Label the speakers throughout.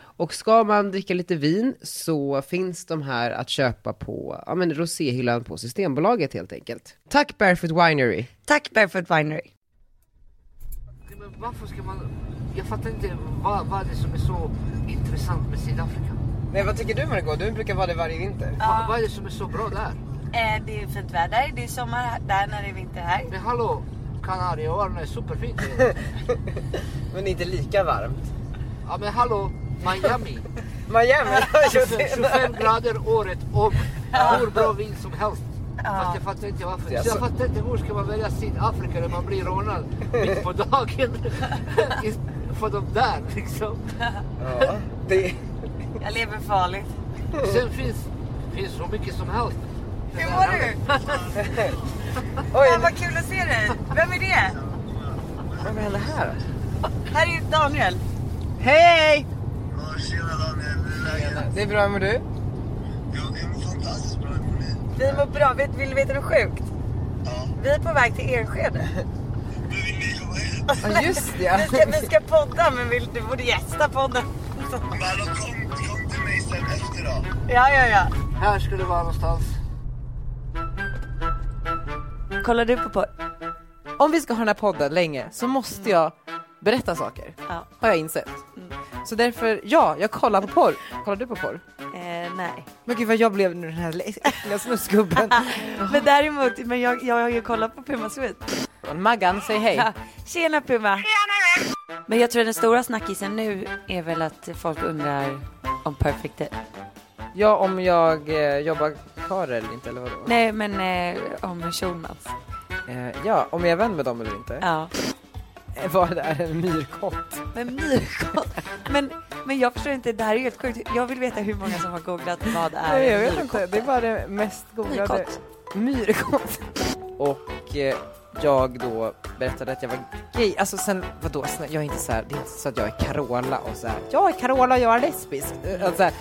Speaker 1: Och ska man dricka lite vin så finns de här att köpa på ja, men roséhyllan på Systembolaget helt enkelt. Tack Barefoot Winery!
Speaker 2: Tack Barefoot Winery.
Speaker 3: Nej, Men varför ska man... Jag fattar inte vad, vad det är som är så intressant med Sydafrika.
Speaker 1: Nej, vad tycker du Margot? Du brukar vara där varje vinter.
Speaker 3: Vad, vad är det som är så bra där?
Speaker 4: Eh, Det är fint väder, det är sommar här- där när det är vinter här.
Speaker 3: Men hallå, Kanarieöarna är superfint.
Speaker 1: Men inte lika varmt.
Speaker 3: ja men hallå, Miami.
Speaker 1: Miami!
Speaker 3: 25 grader året om. Hur bra vin som helst. Fast jag fattar inte varför.
Speaker 1: Ja,
Speaker 3: Så jag
Speaker 1: så-
Speaker 3: fattar inte hur ska man välja Sydafrika när man blir rånad mitt på dagen. Is- För de där liksom.
Speaker 1: ja, det...
Speaker 4: Jag lever farligt.
Speaker 3: Sen finns, finns så mycket som helst.
Speaker 4: Hur mår du?
Speaker 1: Oj,
Speaker 4: Fan, vad kul att se dig. Vem är det?
Speaker 1: vad hände här?
Speaker 4: Här är Daniel.
Speaker 1: Hej!
Speaker 5: Tjena Daniel, hur är läget?
Speaker 1: Det är bra med du?
Speaker 5: Ja, det mår fantastiskt bra. Hur mår ni?
Speaker 4: Vi mår bra. Vet- Vill du veta något sjukt?
Speaker 5: Ja.
Speaker 4: Vi är på väg till Enskede.
Speaker 5: Hur vill ni komma hit?
Speaker 1: Ja, just det.
Speaker 4: Vi ska, vi ska podda men vill, du borde gästa podden.
Speaker 5: Men hallå, kom, kom till mig sen efter då.
Speaker 4: Ja, ja, ja.
Speaker 3: Här skulle det vara någonstans.
Speaker 4: Kollar du på podd?
Speaker 6: om vi ska ha den här podden länge så måste jag berätta saker.
Speaker 4: Ja.
Speaker 6: Har jag insett.
Speaker 1: Mm.
Speaker 6: Så därför, ja, jag kollar på porr. Kollar du på porr?
Speaker 4: Eh, nej.
Speaker 6: Men gud vad jag blev nu den här äckliga snuskgubben.
Speaker 4: Men däremot, men jag, jag har ju kollat på Puma Sweet.
Speaker 6: Maggan, säg hej.
Speaker 4: Ja. Tjena Puma! Men jag tror den stora snackisen nu är väl att folk undrar om Perfect Day.
Speaker 6: Ja, om jag eh, jobbar kvar eller inte eller vadå?
Speaker 4: Nej men eh, om Schulmans.
Speaker 6: Eh, ja, om jag är vän med dem eller inte.
Speaker 4: Ja.
Speaker 6: Eh, Var det här en myrkott?
Speaker 4: Men myrkott. Men, men jag förstår inte, det här är ju helt sjukt. Jag vill veta hur många som har googlat vad är
Speaker 6: Nej, jag vet
Speaker 4: myrkott.
Speaker 6: inte. Det var det mest googlade.
Speaker 4: Myrkott.
Speaker 6: Myrkott. Och eh, jag då berättade att jag var gay. Alltså sen, vadå, snä- jag är inte så här, det är inte så att jag är Carola och så här, jag är Carola och jag är lesbisk. Eh, Alltså, så här,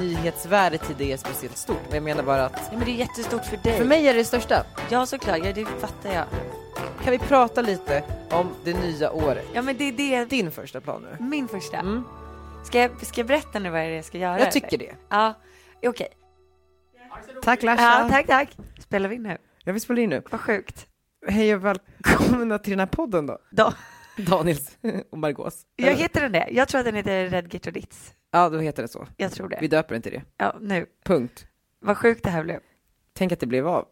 Speaker 6: nyhetsvärdet i det är speciellt stort, men jag menar bara att
Speaker 4: Nej, men det är jättestort för dig.
Speaker 6: för mig är det det största.
Speaker 4: Ja såklart, ja, det fattar jag.
Speaker 6: Kan vi prata lite om det nya året?
Speaker 4: Ja men det är det,
Speaker 6: Din första plan nu?
Speaker 4: min första.
Speaker 6: Mm.
Speaker 4: Ska, jag, ska jag berätta nu vad det är jag ska göra?
Speaker 6: Jag tycker det.
Speaker 4: Ja, okej.
Speaker 6: Tack Larsa!
Speaker 4: Ja, tack tack. Spelar vi in nu?
Speaker 6: Jag vill spela in nu.
Speaker 4: Vad sjukt.
Speaker 6: Hej och välkomna till den här podden då.
Speaker 4: Då.
Speaker 6: Daniels och Margås.
Speaker 4: Jag heter den det. Jag tror att den heter Red Git och Ditz.
Speaker 6: Ja, då heter det så.
Speaker 4: Jag tror
Speaker 6: Vi
Speaker 4: det.
Speaker 6: döper inte det.
Speaker 4: Ja, nu.
Speaker 6: Punkt.
Speaker 4: Vad sjukt det här blev.
Speaker 6: Tänk att det blev av.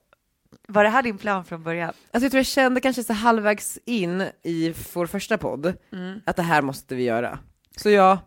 Speaker 4: Var det här din plan från början?
Speaker 6: Alltså jag tror jag kände kanske så halvvägs in i vår första podd att Mm. det här måste vi göra. Så ja,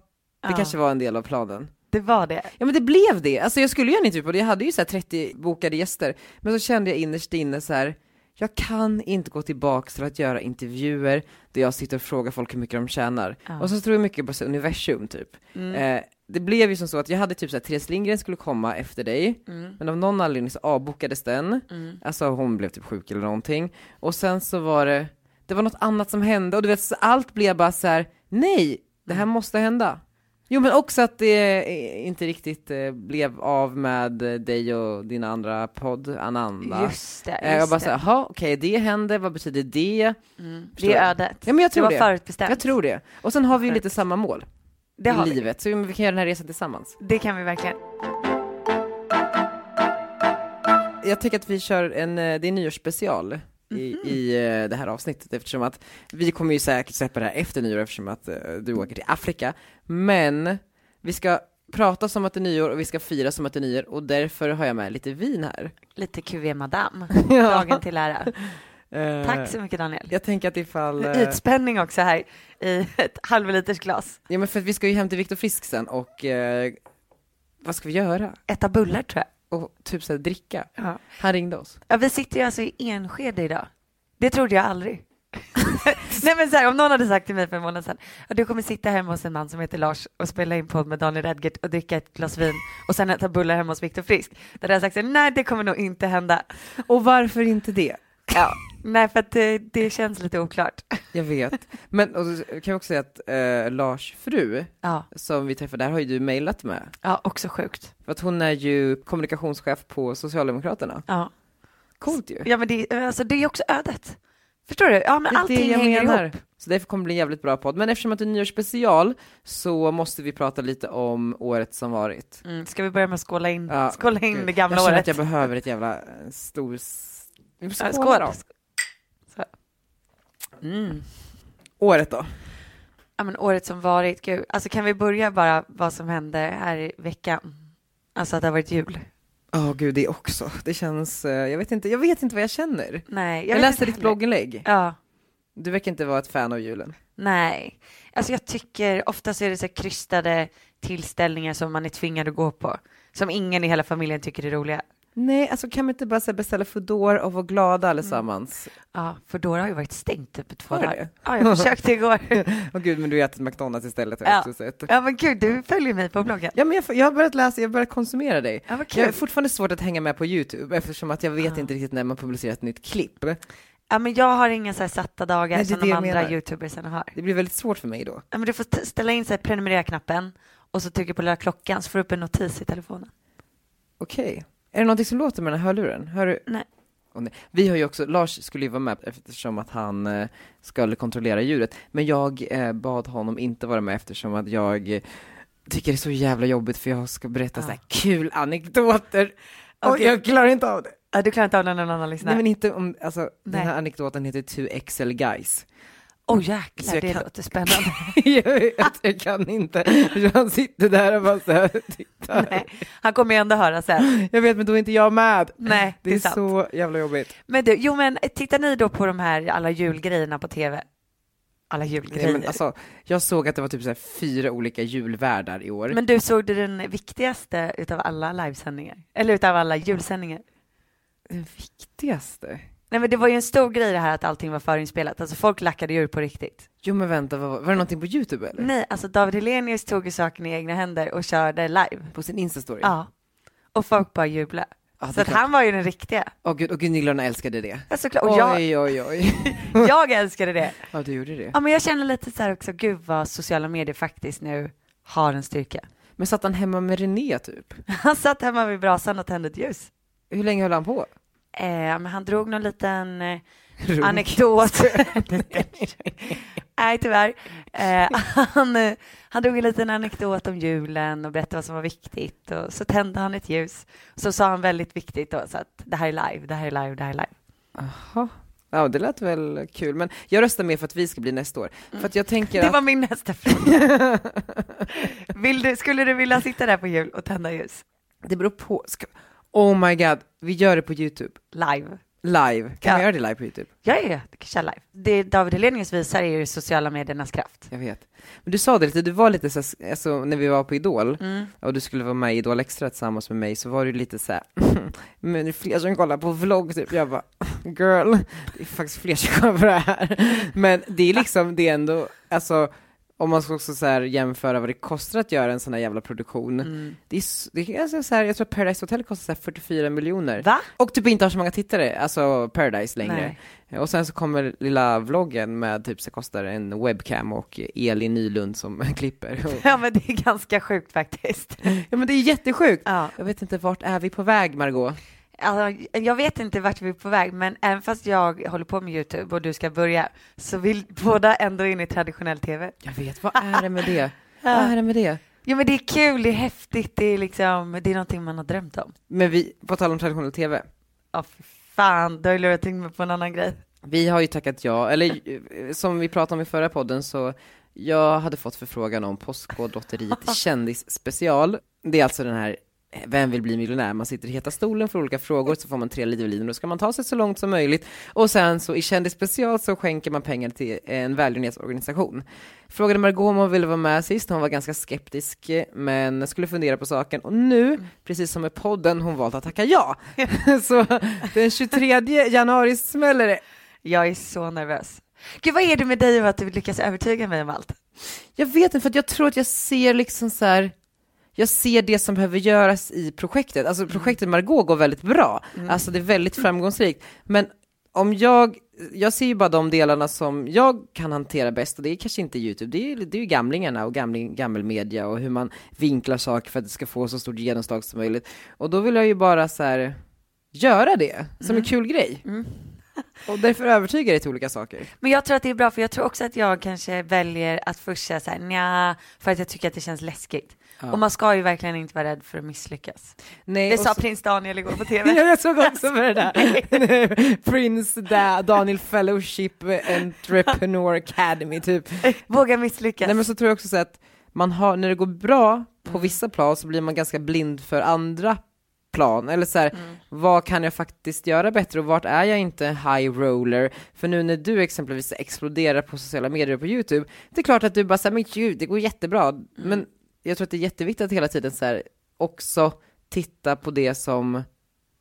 Speaker 6: det
Speaker 4: Ja.
Speaker 6: kanske var en del av planen.
Speaker 4: Det var det.
Speaker 6: Ja men det blev det. Alltså jag skulle göra en intervju på det. Jag hade ju så här 30 bokade gäster. Men så kände jag innerst inne så här, jag kan inte gå tillbaks till att göra intervjuer där jag sitter och frågar folk hur mycket de tjänar. Och så tror jag mycket på så här universum typ. Eh, det blev ju som så att jag hade typ så här, Therese Lindgren skulle komma efter dig,
Speaker 4: Mm.
Speaker 6: men av någon anledning så avbokades den. Alltså hon blev typ sjuk eller någonting. Och sen så var det, det var något annat som hände och du vet, så allt blev bara så här, nej, det här måste hända. Jo men också att det eh, inte riktigt eh, blev av med eh, dig och din andra podd, Ananda.
Speaker 4: Just det. Just
Speaker 6: Eh, Mm. jag bara
Speaker 4: det.
Speaker 6: såhär, jaha okej det hände, vad betyder det? Förstår
Speaker 4: det är
Speaker 6: du?
Speaker 4: ödet.
Speaker 6: Ja men jag tror
Speaker 4: det var
Speaker 6: det.
Speaker 4: förutbestämt.
Speaker 6: Jag tror det. Och sen har vi ju lite samma mål
Speaker 4: det har
Speaker 6: i
Speaker 4: vi.
Speaker 6: livet, så vi- vi kan göra den här resan tillsammans.
Speaker 4: Det kan vi verkligen.
Speaker 6: Jag tycker att vi kör en, eh, det är en nyårsspecial.
Speaker 4: Mhm.
Speaker 6: I, i eh, det här avsnittet eftersom att vi kommer ju säkert släppa det här efter nyår eftersom att eh, du åker till Afrika. Men vi ska prata som att det är nyår och vi ska fira som att det är nyår och därför har jag med lite vin här.
Speaker 4: Lite QV madam.
Speaker 6: Ja.
Speaker 4: Dagen till ära.
Speaker 6: Eh,
Speaker 4: Tack så mycket Daniel.
Speaker 6: Jag tänker att ifall... eh,
Speaker 4: Utspänning också här i ett halvliters glas.
Speaker 6: Ja men för att vi ska ju hem till Viktor Frisk sen och eh, vad ska vi göra?
Speaker 4: Äta bullar tror jag.
Speaker 6: Och typ såhär dricka.
Speaker 4: Ja.
Speaker 6: Han ringde oss.
Speaker 4: Ja, vi sitter ju alltså i Enskede idag. Det trodde jag aldrig. Nej men så här, om någon hade sagt till mig för en månad sedan, "Ja, du kommer sitta hemma hos en man som heter Lars och spela in podd med Daniel Redgert och dricka ett glas vin och sen äta bullar hemma hos Viktor Frisk. Då hade jag sagt så här, nej det kommer nog inte hända.
Speaker 6: Och varför inte det?
Speaker 4: Ja, nej för att det, det känns lite oklart.
Speaker 6: Jag vet. Men och, så kan jag också säga att eh, Lars fru,
Speaker 4: Ja,
Speaker 6: som vi träffade där, har ju du mejlat med.
Speaker 4: ja också sjukt.
Speaker 6: För att hon är ju kommunikationschef på Socialdemokraterna.
Speaker 4: Ja.
Speaker 6: Coolt ju.
Speaker 4: Ja men det, alltså, det är också ödet. Förstår du? Ja men
Speaker 6: Det är
Speaker 4: allting
Speaker 6: det jag
Speaker 4: hänger
Speaker 6: menar.
Speaker 4: ihop.
Speaker 6: Så därför kommer det bli en jävligt bra podd. Men eftersom att det är nyårsspecial så måste vi prata lite om året som varit.
Speaker 4: Mm, ska vi börja med att skåla in,
Speaker 6: Ja,
Speaker 4: skåla in
Speaker 6: Gud,
Speaker 4: det gamla
Speaker 6: jag känner
Speaker 4: året?
Speaker 6: att jag behöver ett jävla eh, stor... s- Vi får
Speaker 4: Ja,
Speaker 6: skåla då.
Speaker 4: Så. Mm.
Speaker 6: Året då?
Speaker 4: Ja, men året som varit, gud. Alltså kan vi börja bara vad som hände här i veckan? Alltså att det har varit jul.
Speaker 6: Ja, gud det också. Det känns, eh, jag vet inte, jag vet inte vad jag känner. Jag,
Speaker 4: Nej, jag, vet
Speaker 6: läste
Speaker 4: inte
Speaker 6: ditt
Speaker 4: heller.
Speaker 6: blogginlägg.
Speaker 4: Ja,
Speaker 6: Du verkar inte vara ett fan av julen.
Speaker 4: nej. Alltså jag tycker, ofta så är det så här krystade tillställningar som man är tvingad att gå på. Som ingen i hela familjen tycker är roliga.
Speaker 6: Nej, alltså kan vi inte bara så här, beställa Foodor och vara glada allesammans?
Speaker 4: Ja, Foodora har ju varit stängt typ i två
Speaker 6: Har det
Speaker 4: dagar.
Speaker 6: det?
Speaker 4: Ja, jag försökte igår.
Speaker 6: Åh gud, men du har ätit McDonalds istället har jag
Speaker 4: Ja.
Speaker 6: också sett.
Speaker 4: Ja, men gud, du följer mig på bloggen.
Speaker 6: Ja, men jag, får- jag har börjat läsa, jag har börjat konsumera dig.
Speaker 4: Ja, vad
Speaker 6: Jag är
Speaker 4: kul. Ah.
Speaker 6: fortfarande svårt att hänga med på YouTube eftersom att jag vet inte riktigt när man publicerar ett nytt klipp.
Speaker 4: Ja, men jag har inga så här satta
Speaker 6: Nej,
Speaker 4: dagar
Speaker 6: det är
Speaker 4: som
Speaker 6: det
Speaker 4: de
Speaker 6: jag
Speaker 4: andra
Speaker 6: menar.
Speaker 4: youtubersarna har.
Speaker 6: Det blir väldigt svårt för mig då.
Speaker 4: Ja, men du får t- ställa in så här, prenumerera-knappen och så trycker på lilla klockan så får du upp en notis i telefonen.
Speaker 6: Okej. Är det någonting som låter med den här hörluren? Hör du?
Speaker 4: Nej.
Speaker 6: Åh, nej. Vi har ju också, Lars skulle ju vara med eftersom att han eh, skulle kontrollera djuret, men jag eh, bad honom inte vara med eftersom att jag eh, tycker det är så jävla jobbigt för jag ska berätta så här kul anekdoter och
Speaker 4: Ah. Okej.
Speaker 6: jag klarar inte av det.
Speaker 4: Ja, du klarar inte av när någon annan
Speaker 6: Nej,
Speaker 4: lyssnar?
Speaker 6: men inte om, alltså den
Speaker 4: Nej.
Speaker 6: här anekdoten heter 2XL guys.
Speaker 4: Åh
Speaker 6: Så
Speaker 4: jäklar,
Speaker 6: jag
Speaker 4: det
Speaker 6: kan-
Speaker 4: låter spännande.
Speaker 6: jag, vet, jag kan inte, han sitter där och bara så här, tittar.
Speaker 4: Nej, han kommer ju ändå höra sen.
Speaker 6: Jag vet men då är inte jag med.
Speaker 4: Nej, det,
Speaker 6: Det
Speaker 4: är
Speaker 6: är
Speaker 4: sant.
Speaker 6: så jävla jobbigt.
Speaker 4: Men du, jo men tittar ni då på de här alla julgrejerna på tv? Alla julgrejer.
Speaker 6: Nej, men
Speaker 4: men,
Speaker 6: alltså, jag såg att det var typ så här fyra olika julvärdar i år.
Speaker 4: du såg du den viktigaste utav alla livesändningar? Eller utav alla julsändningar?
Speaker 6: Den viktigaste?
Speaker 4: Nej men det var ju en stor grej det här att allting var förinspelat. Alltså folk lackade ur på riktigt.
Speaker 6: Jo men vänta, vad var, var det någonting på YouTube eller?
Speaker 4: Nej, alltså David Hellenius tog ju saken i egna händer och körde live.
Speaker 6: På sin Insta-story?
Speaker 4: Ja. Och folk bara jublade.
Speaker 6: Ja, det
Speaker 4: så
Speaker 6: är
Speaker 4: att
Speaker 6: klart.
Speaker 4: han var ju den riktiga.
Speaker 6: Åh gud, och Gunillorna älskade det.
Speaker 4: Ja, såklart. Och jag,
Speaker 6: Oj, oj, oj.
Speaker 4: jag älskade det.
Speaker 6: Ja, du gjorde det.
Speaker 4: Ja, men jag känner lite så här också, gud vad sociala medier faktiskt nu har en styrka.
Speaker 6: Men satt han hemma med René typ?
Speaker 4: Han satt hemma vid brasan och tände ett ljus.
Speaker 6: Hur länge höll han på?
Speaker 4: Eh, men han drog någon liten eh,
Speaker 6: Runt.
Speaker 4: anekdot. Nej, tyvärr. Eh, han, eh, han drog en liten anekdot om julen och berättade vad som var viktigt. Och så tände han ett ljus. Så sa han väldigt viktigt då, så att det här är live, det här är live, det här är live.
Speaker 6: Jaha. Ja, det lät väl kul. Men jag röstar med för att vi ska bli nästa år. För att jag tänker
Speaker 4: Mm. Det
Speaker 6: att...
Speaker 4: var min nästa fråga. Vill du, skulle du vilja sitta där på jul och tända ljus?
Speaker 6: Det beror på. Ska... Oh my god, vi gör det på YouTube.
Speaker 4: Live?
Speaker 6: Live. Kan
Speaker 4: Ja.
Speaker 6: vi göra det live på YouTube?
Speaker 4: Ja, ja, ja, det kan köra live. Det David Hellenius visar är ju sociala mediernas kraft.
Speaker 6: Jag vet. Men du sa det lite, du var lite så här, alltså, när vi var på Idol
Speaker 4: Mm.
Speaker 6: och du skulle vara med i Idol Extra tillsammans med mig så var du lite så här, men det är fler som kollar på vlogg typ. Jag bara, girl, det är faktiskt fler som kollar på det här. Men det är liksom, det är ändå, alltså om man ska också så här jämföra vad det kostar att göra en sån här jävla produktion.
Speaker 4: Mm.
Speaker 6: Det är, s- det är alltså så här, jag tror att Paradise Hotel kostar så här 44 miljoner.
Speaker 4: Va?
Speaker 6: Och typ inte har så många tittare, alltså Paradise längre.
Speaker 4: Nej.
Speaker 6: Och sen så kommer lilla vloggen med typ så kostar en webcam och Elin Nylund som klipper. Och,
Speaker 4: Ja, men det är ganska sjukt faktiskt.
Speaker 6: ja men det är jättesjukt!
Speaker 4: Ja.
Speaker 6: Jag vet inte, vart är vi på väg Margot?
Speaker 4: Alltså, jag vet inte vart vi är på väg, men även fast jag håller på med YouTube och du ska börja så vill båda ändå in i traditionell TV.
Speaker 6: Jag vet, vad är det med det? Vad är det med det?
Speaker 4: Ja, men det är kul, det är häftigt, det är liksom, det är någonting man har drömt om.
Speaker 6: Men vi, på tal om traditionell TV,
Speaker 4: Ja, fy fan, du har ju lurat in mig på en annan grej.
Speaker 6: vi har ju tackat ja, eller eh, som vi pratade om i förra podden så jag hade fått förfrågan om Postkodlotteriet kändisspecial. Det är alltså den här eh, vem vill bli miljonär? Man sitter i heta stolen för olika frågor, så får man tre livlinor och då ska man ta sig så långt som möjligt. Och sen så i kändisspecial så skänker man pengar till en välgörenhetsorganisation. Frågade Margot om hon ville vara med sist, hon var ganska skeptisk eh, men skulle fundera på saken och nu, precis som med podden, hon valt att tacka ja. så den 23 januari smäller det.
Speaker 4: Jag är så nervös. Gud vad är det med dig och att du lyckas övertyga mig om allt?
Speaker 6: Jag vet inte, för att jag tror att jag ser liksom så här, jag ser det som behöver göras i projektet. Alltså projektet Margot går väldigt bra, alltså det är väldigt framgångsrikt. Men om jag, jag ser ju bara de delarna som jag kan hantera bäst och det är kanske inte YouTube, det är, det är ju gamlingarna och gamling, gammelmedia och hur man vinklar saker för att det ska få så stort genomslag som möjligt. Och då vill jag ju bara så här göra det som en kul grej. Och därför övertygar det till olika saker.
Speaker 4: Men jag tror att det är bra för jag tror också att jag kanske väljer att först säga så här, nja, för att jag tycker att det känns läskigt. Och man ska ju verkligen inte vara rädd för att misslyckas.
Speaker 6: Nej,
Speaker 4: Det
Speaker 6: och
Speaker 4: sa
Speaker 6: så-
Speaker 4: prins Daniel igår på
Speaker 6: Ja,
Speaker 4: tv.
Speaker 6: jag såg också på det där. Prince da, Daniel Fellowship Entrepreneur Academy typ.
Speaker 4: Våga misslyckas.
Speaker 6: Nej men så tror jag också så att man har, när det går bra på vissa plan så blir man ganska blind för andra plan. Eller så här,
Speaker 4: Mm.
Speaker 6: vad kan jag faktiskt göra bättre och vart är jag inte en high roller? För nu när du exempelvis exploderar på sociala medier och på YouTube, det är klart att du bara säger men gud, det går jättebra. Men jag tror att det är jätteviktigt att hela tiden så här, också titta på det som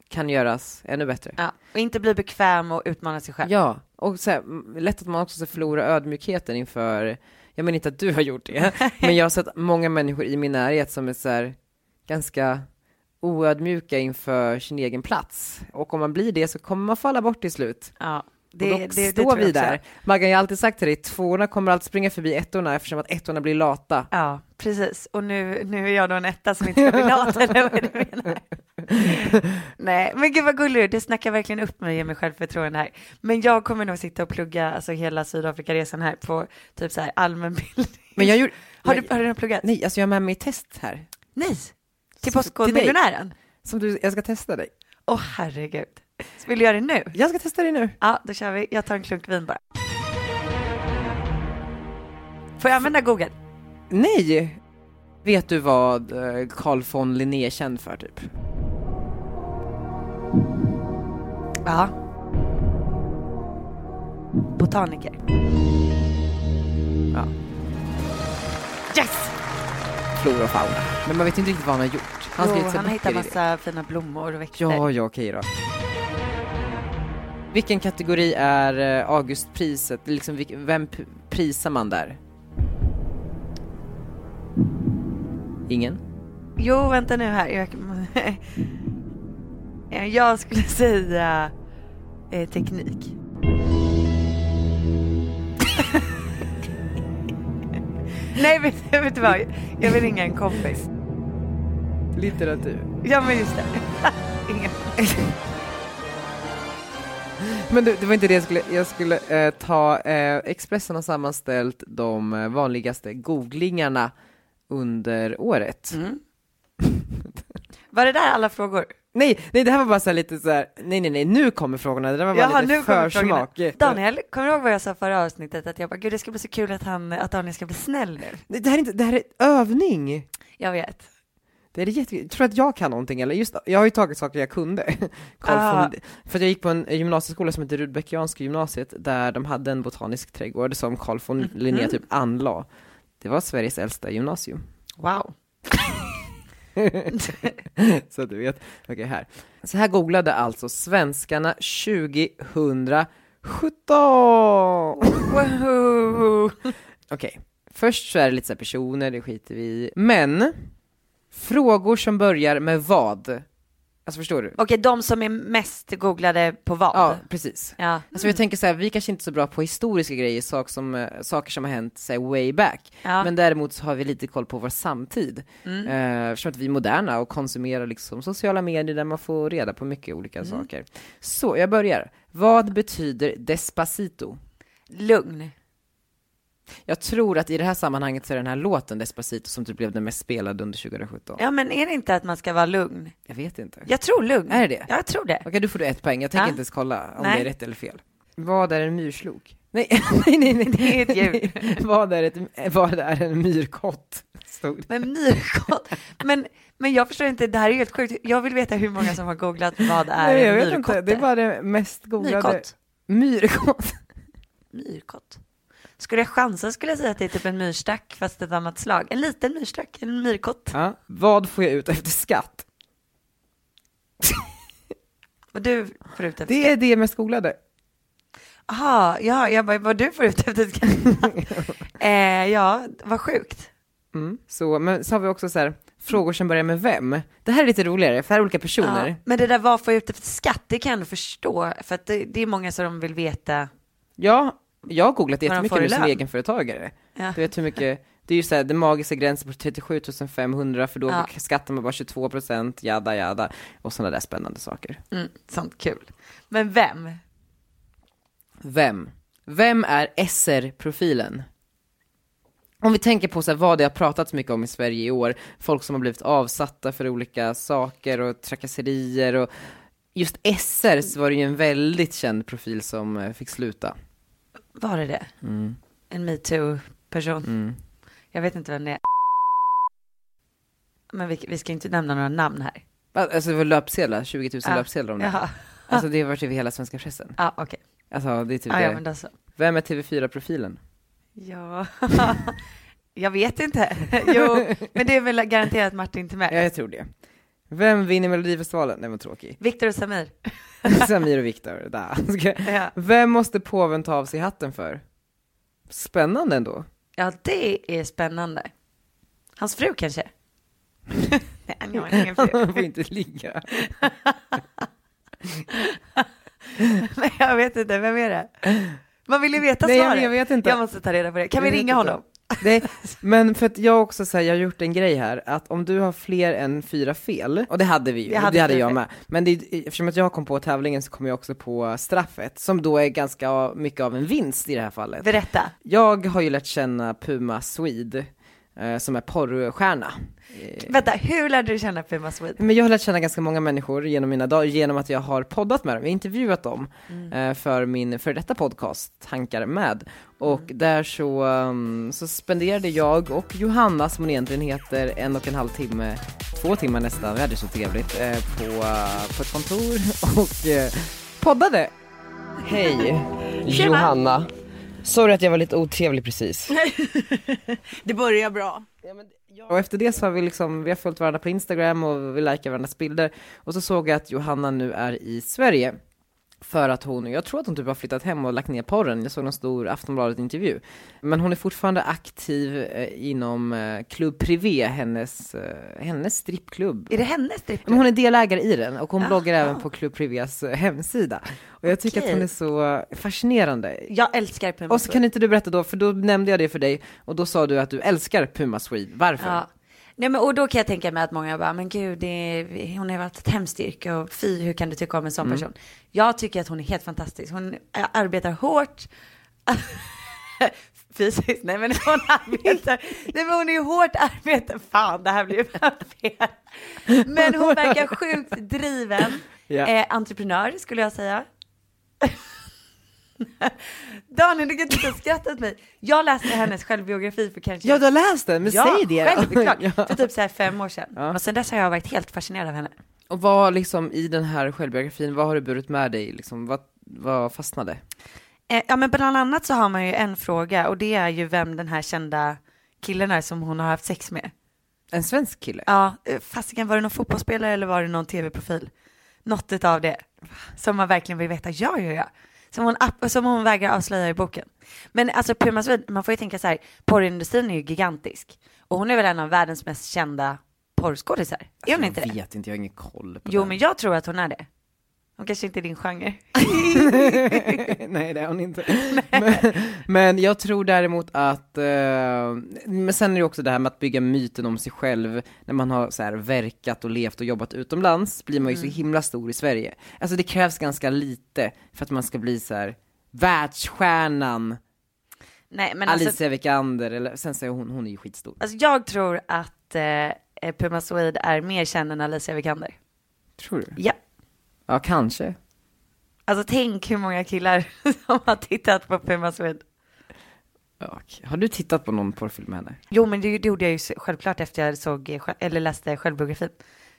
Speaker 6: kan göras ännu bättre.
Speaker 4: Ja, och inte bli bekväm och utmana sig själv.
Speaker 6: Ja, och så här, m- lätt att man också så förlorar ödmjukheten inför, jag menar inte att du har gjort det, men jag har sett många människor i min närhet som är så här, ganska oödmjuka inför sin egen plats. Och om man blir det så kommer man falla bort till slut.
Speaker 4: Ja,
Speaker 6: och då står
Speaker 4: tror jag
Speaker 6: vi
Speaker 4: också.
Speaker 6: där. Maggan, jag har alltid sagt till dig, tvåorna kommer alltid springa förbi ettorna eftersom att ettorna blir lata.
Speaker 4: Ja, precis. Och nu, nu är jag då en etta som inte ska bli lat, eller vad är det du menar? Nej, men gud vad gullig du är. Det snackar verkligen upp mig och ger mig självförtroende här. Men jag kommer nog sitta och plugga alltså, hela Sydafrikaresan här på typ så här allmänbildning.
Speaker 6: Men jag gjorde,
Speaker 4: Har du, har du redan pluggat?
Speaker 6: nej, alltså jag har med mig ett test här.
Speaker 4: Nej.
Speaker 6: dig.
Speaker 4: Till Postkodmiljonären?
Speaker 6: Som du, jag ska testa dig.
Speaker 4: Åh herregud. Vill du göra det nu?
Speaker 6: Jag ska testa dig nu.
Speaker 4: Ja, då kör vi. Jag tar en klunk vin bara. Får jag använda Google?
Speaker 6: Nej! Vet du vad eh, Carl von Linné är känd för typ?
Speaker 4: Ja. Botaniker.
Speaker 6: Ja.
Speaker 4: Yes!
Speaker 6: flora och fauna. Men man vet inte riktigt vad han har gjort. Han
Speaker 4: Han,
Speaker 6: har
Speaker 4: jo,
Speaker 6: skrivit så
Speaker 4: han
Speaker 6: här
Speaker 4: hittar
Speaker 6: böcker i det.
Speaker 4: massa fina blommor och växter.
Speaker 6: Ja, ja, okej då. Vilken kategori är eh, Augustpriset? Liksom, vilk- vem p- prisar man där? Ingen?
Speaker 4: Jo, vänta nu här. Jag, Eh, jag skulle säga eh, teknik. Nej, vet, vet du vad? Jag vill ringa en kompis.
Speaker 6: Litteratur.
Speaker 4: Ja, men just det. Ingen.
Speaker 6: Men du, det var inte det jag skulle, jag skulle eh, ta, eh, Expressen har sammanställt de eh, vanligaste googlingarna under året.
Speaker 4: Mm. Var det där alla frågor?
Speaker 6: Nej, nej det här var bara så här lite så här, nej nej nej nu kommer frågorna, det där var bara
Speaker 4: Jaha,
Speaker 6: lite
Speaker 4: nu kommer frågorna.
Speaker 6: försmak.
Speaker 4: Daniel, kommer du ihåg vad jag sa förra avsnittet? Att jag bara, gud det ska bli så kul att, han, att Daniel ska bli snäll nu.
Speaker 6: Nej, Det här är inte, det här är övning.
Speaker 4: Jag vet.
Speaker 6: Det är jättekul. Tror du att jag kan någonting eller? Just, jag har ju tagit saker jag kunde. Carl
Speaker 4: Ah.
Speaker 6: von, för att jag gick på en gymnasieskola som heter Rudbeckianska gymnasiet där de hade en botanisk trädgård som Carl von
Speaker 4: Mhm.
Speaker 6: Linné typ anlade. Det var Sveriges äldsta gymnasium.
Speaker 4: Wow.
Speaker 6: Så att du vet. Okej, här. Så här googlade alltså svenskarna 2017.
Speaker 4: Wow.
Speaker 6: Okej, först så är det lite så här personer, det skiter vi i. Men, frågor som börjar med vad? Alltså förstår du?
Speaker 4: Okej, de som är mest googlade på vad?
Speaker 6: Ja, precis.
Speaker 4: Ja.
Speaker 6: Alltså jag tänker så här, vi kanske inte är så bra på historiska grejer, sak som, eh, saker som har hänt say, way back.
Speaker 4: Ja.
Speaker 6: Men däremot så har vi lite koll på vår samtid. Mm. Eh, eftersom att vi är moderna och konsumerar liksom sociala medier där man får reda på mycket olika saker. Så jag börjar. Vad betyder Despacito?
Speaker 4: Lugn.
Speaker 6: Jag tror att i det här sammanhanget så är den här låten Despacito som typ blev den mest spelade under 2017.
Speaker 4: Ja, men är det inte att man ska vara lugn?
Speaker 6: Jag vet inte. Okej,
Speaker 4: Jag tror lugn.
Speaker 6: Är det det?
Speaker 4: Jag tror det.
Speaker 6: du får du ett poäng. Jag tänker
Speaker 4: Ja.
Speaker 6: inte ens kolla om
Speaker 4: Nej.
Speaker 6: det är rätt eller fel. Vad är en myrslok? Nej, nej, nej, nej.
Speaker 4: Det är ett djur.
Speaker 6: vad, är ett, vad är en myrkott? Stod det.
Speaker 4: Men myrkott. Men, men jag förstår inte, det här är ju helt sjukt. Jag vill veta hur många som har googlat vad är
Speaker 6: Nej, jag
Speaker 4: en
Speaker 6: vet
Speaker 4: myrkotte.
Speaker 6: inte. Det är bara det mest googlade.
Speaker 4: Myrkott.
Speaker 6: Myrkott.
Speaker 4: Myrkott. Skulle jag chansa skulle jag säga att det är typ en myrstack fast ett annat slag. En liten myrstack, en myrkott.
Speaker 6: Ja. Vad får jag ut efter skatt?
Speaker 4: Och du förutom.
Speaker 6: Det är det mest googlade.
Speaker 4: Aha, ja, jag bara, vad du får ut efter skatt. eh, ja, vad sjukt.
Speaker 6: Mm. Så, men så har vi också så här, frågor som börjar med vem. Det här är lite roligare, för här är olika personer.
Speaker 4: Ja, men det där vad får jag ut efter skatt, det kan jag ändå förstå. För att det, det är många som vill veta.
Speaker 6: Ja, jag har googlat
Speaker 4: Vad de
Speaker 6: jättemycket
Speaker 4: får i
Speaker 6: nu som
Speaker 4: lön.
Speaker 6: egenföretagare.
Speaker 4: Ja.
Speaker 6: Du vet hur mycket, det är ju såhär den magiska gränsen på 37 500 för då
Speaker 4: Ja.
Speaker 6: skattar man bara 22 procent, jada jada, och sådana där spännande saker.
Speaker 4: Mm, sånt kul. Men vem?
Speaker 6: Vem? Vem är SR-profilen? Om vi tänker på så här, vad det har pratats mycket om i Sverige i år, folk som har blivit avsatta för olika saker och trakasserier och just SR så var det ju en väldigt känd profil som eh, fick sluta.
Speaker 4: Var det det?
Speaker 6: Mm.
Speaker 4: En metoo-person?
Speaker 6: Mm.
Speaker 4: Jag vet inte vem det är. Men vi, vi ska inte nämna några namn här.
Speaker 6: Alltså det var löpsedlar, 20 000
Speaker 4: Ja.
Speaker 6: löpsedlar om det.
Speaker 4: Jaha,
Speaker 6: Alltså det har varit över hela svenska pressen.
Speaker 4: ja, okej. Ah,
Speaker 6: Alltså det är typ
Speaker 4: Ja, ja,
Speaker 6: det.
Speaker 4: men då så.
Speaker 6: Vem är TV4-profilen?
Speaker 4: Ja, jag vet inte. Jo, men det är väl garanterat Martin till
Speaker 6: Ja,
Speaker 4: mig.
Speaker 6: jag tror det. Vem vinner Melodifestivalen? Nej, vad tråkig.
Speaker 4: Viktor och Samir.
Speaker 6: Samir och Viktor. da.
Speaker 4: Ja.
Speaker 6: Vem måste påven ta av sig hatten för? Spännande ändå.
Speaker 4: Ja, det är spännande. Hans fru kanske? Nej, han har ingen fru.
Speaker 6: Han får inte ligga.
Speaker 4: Nej, jag vet inte, vem är det? Man vill ju veta
Speaker 6: Nej, jag-
Speaker 4: svaret.
Speaker 6: jag vet inte.
Speaker 4: Jag måste ta reda på det. Kan vi
Speaker 6: Jag vet
Speaker 4: ringa
Speaker 6: inte.
Speaker 4: honom?
Speaker 6: Nej, men för att jag också säger, jag har gjort en grej här, att om du har fler än fyra fel, och det hade vi ju,
Speaker 4: Jag hade
Speaker 6: det hade
Speaker 4: fyra
Speaker 6: jag
Speaker 4: fel.
Speaker 6: med, men det, är- eftersom att jag kom på tävlingen så kom jag också på straffet, som då är ganska mycket av en vinst i det här fallet.
Speaker 4: Berätta.
Speaker 6: Jag har ju lärt känna Puma Swede, eh, som är porrstjärna. Eh,
Speaker 4: Vänta, hur lärde du känna Puma Swede?
Speaker 6: men jag har lärt känna ganska många människor genom mina dagar, genom att jag har poddat med dem, jag har intervjuat dem eh, för min för detta podcast, Tankar med. Och där så, um, så spenderade jag och Johanna, som hon egentligen heter, en och en halv timme, två timmar nästan, vi hade så trevligt, eh, på, eh, på ett kontor och eh, poddade.
Speaker 1: Hej,
Speaker 7: Tjena.
Speaker 1: Johanna. Sorry att jag var lite otrevlig precis.
Speaker 7: Det börjar bra.
Speaker 6: Och efter det så har vi liksom, vi har följt varandra på Instagram och vi likar varandras bilder. Och så såg jag att Johanna nu är i Sverige. För att hon, jag tror att hon typ har flyttat hem och lagt ner porren. Jag såg någon stor Aftonbladet-intervju. Men hon är fortfarande aktiv eh, inom eh, Club Privé, hennes, eh, hennes strippklubb.
Speaker 4: Är det hennes strippklubb?
Speaker 6: Men hon är delägare i den och hon bloggar även på Club Privés eh, hemsida. Och jag tycker att hon är så fascinerande.
Speaker 4: Jag älskar Puma
Speaker 6: Och så kan inte du berätta då, för då nämnde jag det för dig och då sa du att du älskar Puma Swede. Varför?
Speaker 4: Ja. Nej, men, och då kan jag tänka mig att många bara, men gud, det är, hon har varit ett hemskt yrke och fy, hur kan du tycka om en
Speaker 6: Mm.
Speaker 4: sån person? Jag tycker att hon är helt fantastisk. Hon ä, arbetar hårt. Fysiskt, nej men hon arbetar, nej men hon är ju hårt arbetande, fan det här blir ju fan fel. Men hon verkar sjukt driven,
Speaker 6: Ja.
Speaker 4: eh, entreprenör skulle jag säga. Daniel du kan inte skratta åt mig. Jag läste hennes självbiografi för kanske
Speaker 6: Ja, du har läst den, men säg det.
Speaker 4: självklart.
Speaker 6: Ja.
Speaker 4: För typ så här fem år sedan. Och sen dess har jag varit helt fascinerad av henne.
Speaker 6: Och vad liksom i den här självbiografin, vad har du burit med dig liksom? Vad, vad fastnade?
Speaker 4: Eh, ja men bland annat så har man ju en fråga och det är ju vem den här kända killen är som hon har haft sex med.
Speaker 6: En svensk kille?
Speaker 4: Ja, eh, fasiken var det någon fotbollsspelare eller var det någon tv-profil? Något utav det. Som man verkligen vill veta, ja ja ja. Som hon, app- som hon vägrar avslöja i boken. Men alltså Puma Swede, man får ju tänka så här, porrindustrin är ju gigantisk. Och hon är väl en av världens mest kända porrskådisar? Är hon inte det?
Speaker 6: jag vet inte, jag har ingen koll på
Speaker 4: Jo,
Speaker 6: den.
Speaker 4: men jag tror att hon är det. Hon kanske inte är din genre.
Speaker 6: Nej, det är hon inte. men, men jag tror däremot att, eh, men sen är det också det här med att bygga myten om sig själv, när man har så här verkat och levt och jobbat utomlands, blir man ju
Speaker 4: Mm.
Speaker 6: så himla stor i Sverige. Alltså det krävs ganska lite för att man ska bli så här världsstjärnan
Speaker 4: Nej, men alltså,
Speaker 6: Alicia Vikander, eller sen säger hon, hon är ju skitstor.
Speaker 4: alltså jag tror att eh, Puma Swede är mer känd än Alicia Vikander.
Speaker 6: Tror du?
Speaker 4: Ja.
Speaker 6: Ja, kanske.
Speaker 4: Alltså tänk hur många killar som har tittat på Puma Swede.
Speaker 6: Ja, okej. Har du tittat på någon porrfilm med henne?
Speaker 4: Jo, men det, det gjorde jag ju s- självklart efter jag såg, eh, sj- eller läste självbiografin.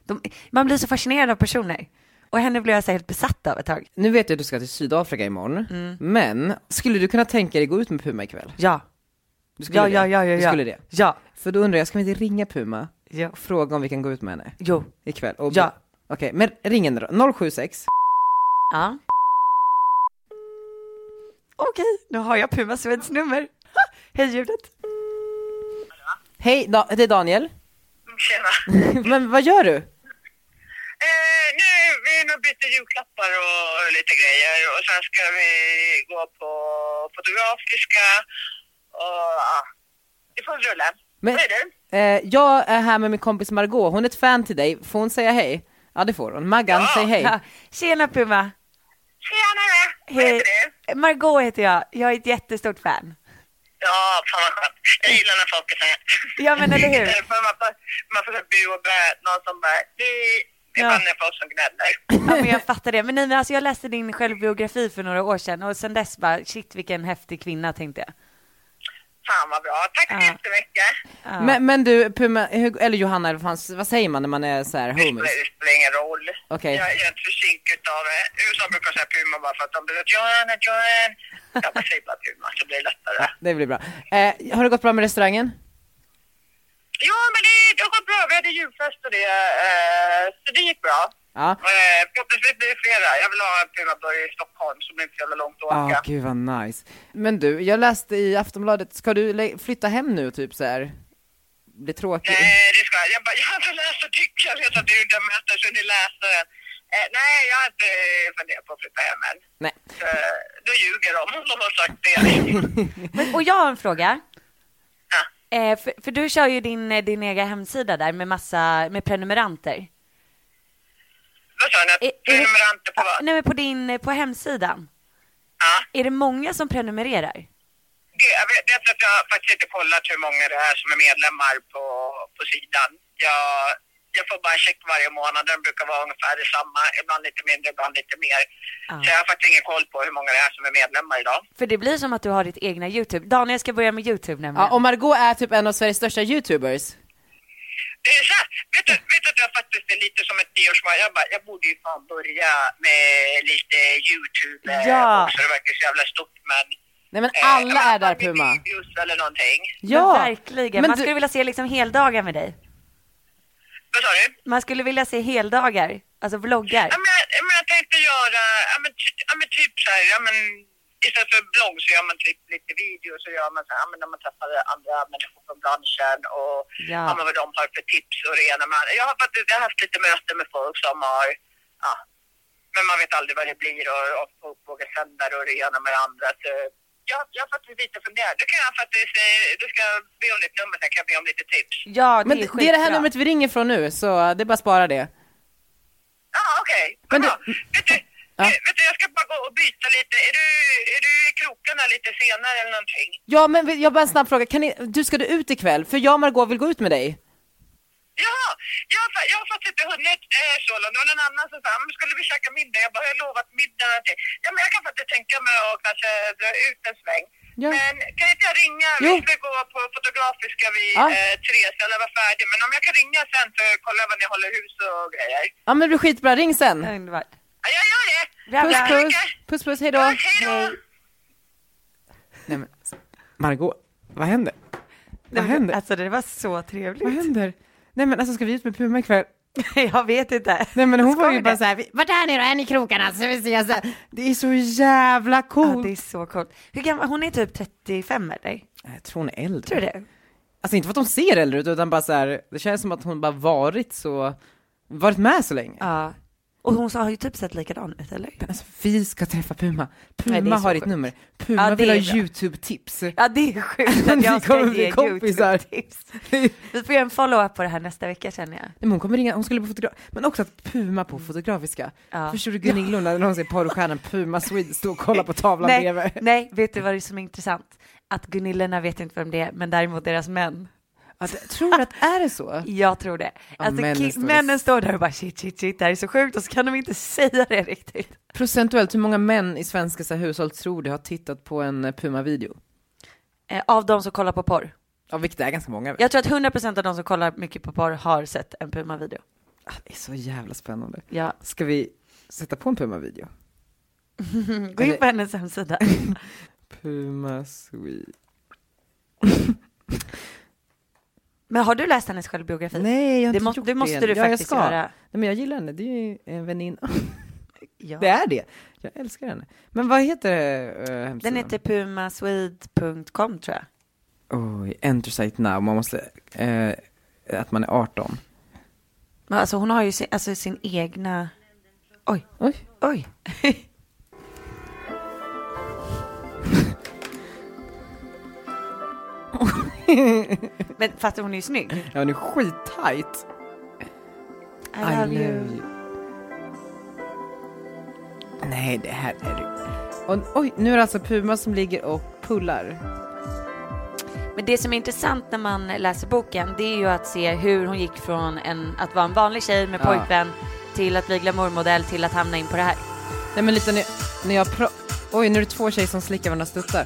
Speaker 4: De, man blir så fascinerad av personer. Och henne blev jag så här helt besatt av ett tag.
Speaker 6: Nu vet jag att du ska till Sydafrika imorgon,
Speaker 4: Mm.
Speaker 6: men skulle du kunna tänka dig gå ut med Puma ikväll?
Speaker 4: Ja,
Speaker 6: Du skulle
Speaker 4: ja,
Speaker 6: det?
Speaker 4: ja, ja, ja, ja.
Speaker 6: Du skulle det?
Speaker 4: Ja,
Speaker 6: För då undrar jag, ska vi inte ringa Puma
Speaker 4: ja.
Speaker 6: och fråga om vi kan gå ut med henne
Speaker 4: Jo.
Speaker 6: ikväll? Och
Speaker 4: Ja.
Speaker 6: Okej, men ring henne då. 076.
Speaker 4: Ja. okej, nu har jag Puma Sveds nummer. Ha, Hej ljudet.
Speaker 6: Hej, da- det är Daniel.
Speaker 5: Tjena.
Speaker 6: Men vad gör du?
Speaker 5: Eh, nu, vi har bytt julklappar och lite grejer och sen ska vi gå på Fotografiska och ja, det får rulla.
Speaker 6: Men-
Speaker 5: Vad är du?
Speaker 6: Eh, jag är här med min kompis Margot. hon är ett fan till dig. Får hon säga hej? Ja, det får hon. Maggan,
Speaker 5: Ja.
Speaker 6: säg hej.
Speaker 4: Ha, Tjena Puma.
Speaker 5: Tjena! Vad heter du?
Speaker 4: Margot heter jag. Jag är ett jättestort fan.
Speaker 5: Ja, fan vad skönt. Jag gillar när folk är så här. Eh,
Speaker 4: Ja men eller hur?
Speaker 5: För man får, man får så här bu och bä, någon som bara du. Det är
Speaker 4: Ja.
Speaker 5: bara när folk som gnäller.
Speaker 4: Ja, men jag fattar det. Men nej, men alltså jag läste din självbiografi för några år sedan och sen dess bara shit vilken häftig kvinna tänkte jag.
Speaker 5: Fan vad bra. Tack så
Speaker 4: Ja.
Speaker 5: jättemycket.
Speaker 4: Ja.
Speaker 6: Men, men du, Puma, hur, eller Johanna, eller vad fan- vad säger man när man är så här
Speaker 5: Det spelar,
Speaker 6: homies?
Speaker 5: det spelar ingen roll.
Speaker 6: Okej.
Speaker 5: Jag, jag är inte för kink utav det. eh, USA brukar säga Puma bara för att de blir att Johan, att Johan. Jag bara säger bara Puma så blir det lättare.
Speaker 6: Det blir bra. Eh, har det gått bra med restaurangen?
Speaker 5: Ja, men det, det har gått bra. Vi hade julfest och det, eh, så det gick bra.
Speaker 6: Ja.
Speaker 5: Eh, Förhoppningsvis blir det flera. Jag vill ha en Pumaburgare i Stockholm som är inte så jävla långt att
Speaker 6: Ja,
Speaker 5: åka.
Speaker 6: gud vad nice. Men du, jag läste i Aftonbladet, ska du lä- flytta hem nu typ så här? Bli tråkig?
Speaker 5: Nej, Eh, det ska jag. Jag bara, jag har inte läst artikeln. Jag vet att du är ute och möter så ni läser den. Eh, nej, jag har inte funderat på att flytta hem än.
Speaker 6: Nej.
Speaker 5: Så, eh, då ljuger de om de har sagt det.
Speaker 4: Och jag har en fråga.
Speaker 5: ja.
Speaker 4: Eh, för, för du kör ju din, eh, din egen hemsida där med massa med prenumeranter.
Speaker 5: Vad sa ni?
Speaker 4: Är- är det-
Speaker 5: Prenumeranter på vad?
Speaker 4: Nej men på din, eh, på hemsidan.
Speaker 5: Ja.
Speaker 4: Är det många som prenumererar?
Speaker 5: Gud, Jag vet, vet att jag har faktiskt inte kollat hur många det är som är medlemmar på, på sidan. Jag, jag får bara en check varje månad. Den brukar vara ungefär detsamma. Ibland lite mindre, ibland lite mer.
Speaker 4: Ja.
Speaker 5: Så jag har faktiskt ingen koll på hur många det är som är medlemmar idag.
Speaker 4: För det blir som att du har ditt egna YouTube. Daniel ska börja med YouTube nämligen.
Speaker 6: Ja, och Margot är typ en av Sveriges största youtubers.
Speaker 5: Det är så här, vet du, vet du att jag faktiskt är lite som ett nyårsmål? Jag bara, jag borde ju fan börja med lite YouTube eh,
Speaker 4: Ja.
Speaker 5: också. Det verkar så jävla stort men...
Speaker 6: Nej men
Speaker 5: eh,
Speaker 6: alla
Speaker 5: men
Speaker 6: är där
Speaker 5: fan, det
Speaker 6: Puma.
Speaker 5: videos eller någonting.
Speaker 4: Men
Speaker 6: Ja,
Speaker 4: verkligen.
Speaker 6: Men
Speaker 4: Man
Speaker 6: du-
Speaker 4: skulle vilja se liksom heldagar med dig.
Speaker 5: Vad sa du?
Speaker 4: Man skulle vilja se heldagar, alltså vloggar.
Speaker 5: Ja, men, jag- ja, men jag tänkte göra, ja men, ty, ja, men typ så här, ja men istället för blogg så gör man typ lite video så gör man så här, ja, men när man träffar andra människor från branschen och
Speaker 4: Ja.
Speaker 5: ja. men vad de har för tips och det ena med det andra. Jag har faktiskt jag har haft lite möten med folk som har, ja, men man vet aldrig vad det blir och, och folk vågar sända det och det ena med det andra. Så jag, jag har faktiskt lite funderat. Du kan jag faktiskt, eh, du ska be om ditt nummer sen kan jag be om lite tips.
Speaker 4: Ja, det
Speaker 6: men
Speaker 4: är
Speaker 6: det, det är det här
Speaker 4: skitbra.
Speaker 6: numret vi ringer från nu, så det är bara att spara det.
Speaker 5: Ja, okej.
Speaker 6: Men
Speaker 5: Men
Speaker 6: du-
Speaker 5: du... Vet du,
Speaker 6: Ja.
Speaker 5: vet du, jag ska bara gå och byta lite. Är du, är du i krokarna lite senare eller någonting?
Speaker 6: Ja, men vi- jag har bara en snabb fråga, kan ni, du ska du ut ikväll? För jag och Margot vill gå ut med dig.
Speaker 5: Ja, jag, har fa- jag har faktiskt inte hunnit eh, så långt. Det var någon annan som sa, "Men skulle vi käka middag? Jag bara, jag har lovat middag. och allting." Ja, men jag kan faktiskt tänka mig att kanske dra ut en sväng.
Speaker 6: Ja.
Speaker 5: Men kan inte jag ringa? Vi
Speaker 6: Jo.
Speaker 5: ska gå på Fotografiska vid
Speaker 6: Ja.
Speaker 5: eh, tre, så jag var färdig. Men om jag kan ringa sen så kollar jag vad ni håller hus och grejer.
Speaker 6: Ja men det blir skitbra, ring
Speaker 4: Eh,
Speaker 6: sen.
Speaker 4: Underbart.
Speaker 5: Ja, jag gör det.
Speaker 4: Bra,
Speaker 6: Puss
Speaker 4: bra.
Speaker 6: puss, puss puss, hejdå.
Speaker 5: Hej då!
Speaker 6: Nej men, Margot, vad händer? Vad händer?
Speaker 4: Alltså det var så
Speaker 6: Vad
Speaker 4: trevligt.
Speaker 6: händer? Nej men alltså ska vi ut med Puma ikväll?
Speaker 4: Jag vet inte.
Speaker 6: Nej men hon
Speaker 4: Ska
Speaker 6: var
Speaker 4: vi
Speaker 6: ju
Speaker 4: det?
Speaker 6: bara såhär, vart är ni då? Är ni i krokarna? Så vi ses sen." Det är så jävla
Speaker 4: Ja,
Speaker 6: coolt!
Speaker 4: det är så coolt. Hur gammal, hon är typ 35 eller?
Speaker 6: Jag tror hon är äldre.
Speaker 4: Tror du det?
Speaker 6: Alltså inte för att hon ser äldre ut utan bara så här, det känns som att hon bara varit så, varit med så länge.
Speaker 4: Ja. Och hon har ju typ sett likadan ut eller?
Speaker 6: Men alltså, vi ska träffa Puma. Puma
Speaker 4: Nej, det är så
Speaker 6: har ditt
Speaker 4: sjukt.
Speaker 6: nummer. Puma
Speaker 4: det
Speaker 6: vill ha
Speaker 4: är bra.
Speaker 6: YouTube-tips.
Speaker 4: Ja det är sjukt
Speaker 6: Ni
Speaker 4: att jag ska
Speaker 6: kommer bli
Speaker 4: ge
Speaker 6: kompisar.
Speaker 4: YouTube-tips. Vi får göra en follow-up på det här nästa vecka känner jag.
Speaker 6: Nej, men hon kommer ringa, hon skulle på fotograf, men också att Puma på fotografiska.
Speaker 4: Ja.
Speaker 6: Förstår du Gunillor när hon ser porrstjärnan Puma Swede stå och kolla på tavlan bredvid?
Speaker 4: Nej, nej, vet du vad det är som är intressant? Att Gunillorna vet inte vem det är, men däremot deras män.
Speaker 6: Att, tror du att är det så?
Speaker 4: Jag tror det.
Speaker 6: Ja,
Speaker 4: alltså,
Speaker 6: männen
Speaker 4: männen,
Speaker 6: står-
Speaker 4: männen står där och bara shit, shit, shit, det här är så sjukt och så kan de inte säga det riktigt.
Speaker 6: Procentuellt, hur många män i svenska så här, hushåll tror du har tittat på en eh, Puma-video?
Speaker 4: Eh, av de som kollar på porr.
Speaker 6: Ja, vilket är ganska många.
Speaker 4: Jag tror att 100% av de som kollar mycket på porr har sett en Puma-video.
Speaker 6: Ah, det är så jävla spännande.
Speaker 4: Ja.
Speaker 6: Ska vi sätta på en Puma-video?
Speaker 4: Gå in på hennes hemsida.
Speaker 6: Puma Swede.
Speaker 4: Men har du läst hennes självbiografi?
Speaker 6: Nej, jag har
Speaker 4: Det
Speaker 6: inte
Speaker 4: måste-
Speaker 6: gjort
Speaker 4: det måste
Speaker 6: än.
Speaker 4: du
Speaker 6: ja,
Speaker 4: faktiskt
Speaker 6: jag ska.
Speaker 4: göra.
Speaker 6: Nej, men jag gillar henne, det är ju en väninna.
Speaker 4: Ja.
Speaker 6: Det är det. Jag älskar henne. Men vad heter uh, hemsidan?
Speaker 4: Den heter pumaswede.com tror jag.
Speaker 6: Oj, enter site now. Man måste, eh, att man är 18.
Speaker 4: Men alltså hon har ju sin, alltså sin egna... Oj,
Speaker 6: Oj.
Speaker 4: oj. Men fattar hon är ju snygg.
Speaker 6: Ja, den är skittajt.
Speaker 4: I love you.
Speaker 6: Nej, det här är det. Och, oj, nu är det alltså Puma som ligger och pullar.
Speaker 4: Men det som är intressant när man läser boken, det är ju att se hur hon gick från en, att vara en vanlig tjej med
Speaker 6: Ja.
Speaker 4: pojkvän till att bli glamourmodell till att hamna in på det här.
Speaker 6: Nej men lite när, när jag pra- Oj, nu är det två tjejer som slickar varandra tuttar.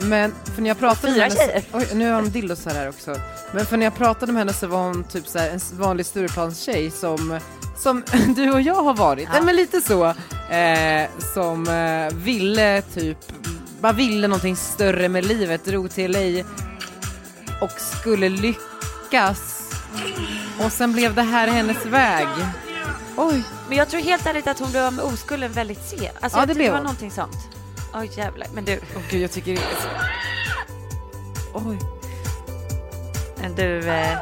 Speaker 6: Men för när jag pratade
Speaker 4: Fyra
Speaker 6: med henne...
Speaker 4: tjejer.
Speaker 6: Oj, nu har de dildos här, här också. Men för när jag pratade med henne så var hon typ så här en s- vanlig Stureplanstjej som, som du och jag har varit. Nej men lite så. Eh, som eh, ville typ, bara ville någonting större med livet, drog till LA och skulle lyckas. Och sen blev det här hennes väg. Oj,
Speaker 4: Men jag tror helt ärligt att hon blev av med oskulden väldigt sent. Alltså
Speaker 6: Ja,
Speaker 4: jag
Speaker 6: det
Speaker 4: tror
Speaker 6: blev
Speaker 4: det var
Speaker 6: hon.
Speaker 4: någonting sånt. Oj jävlar. Men du,
Speaker 6: åh gud jag tycker det är så... Oj.
Speaker 4: men du, eh,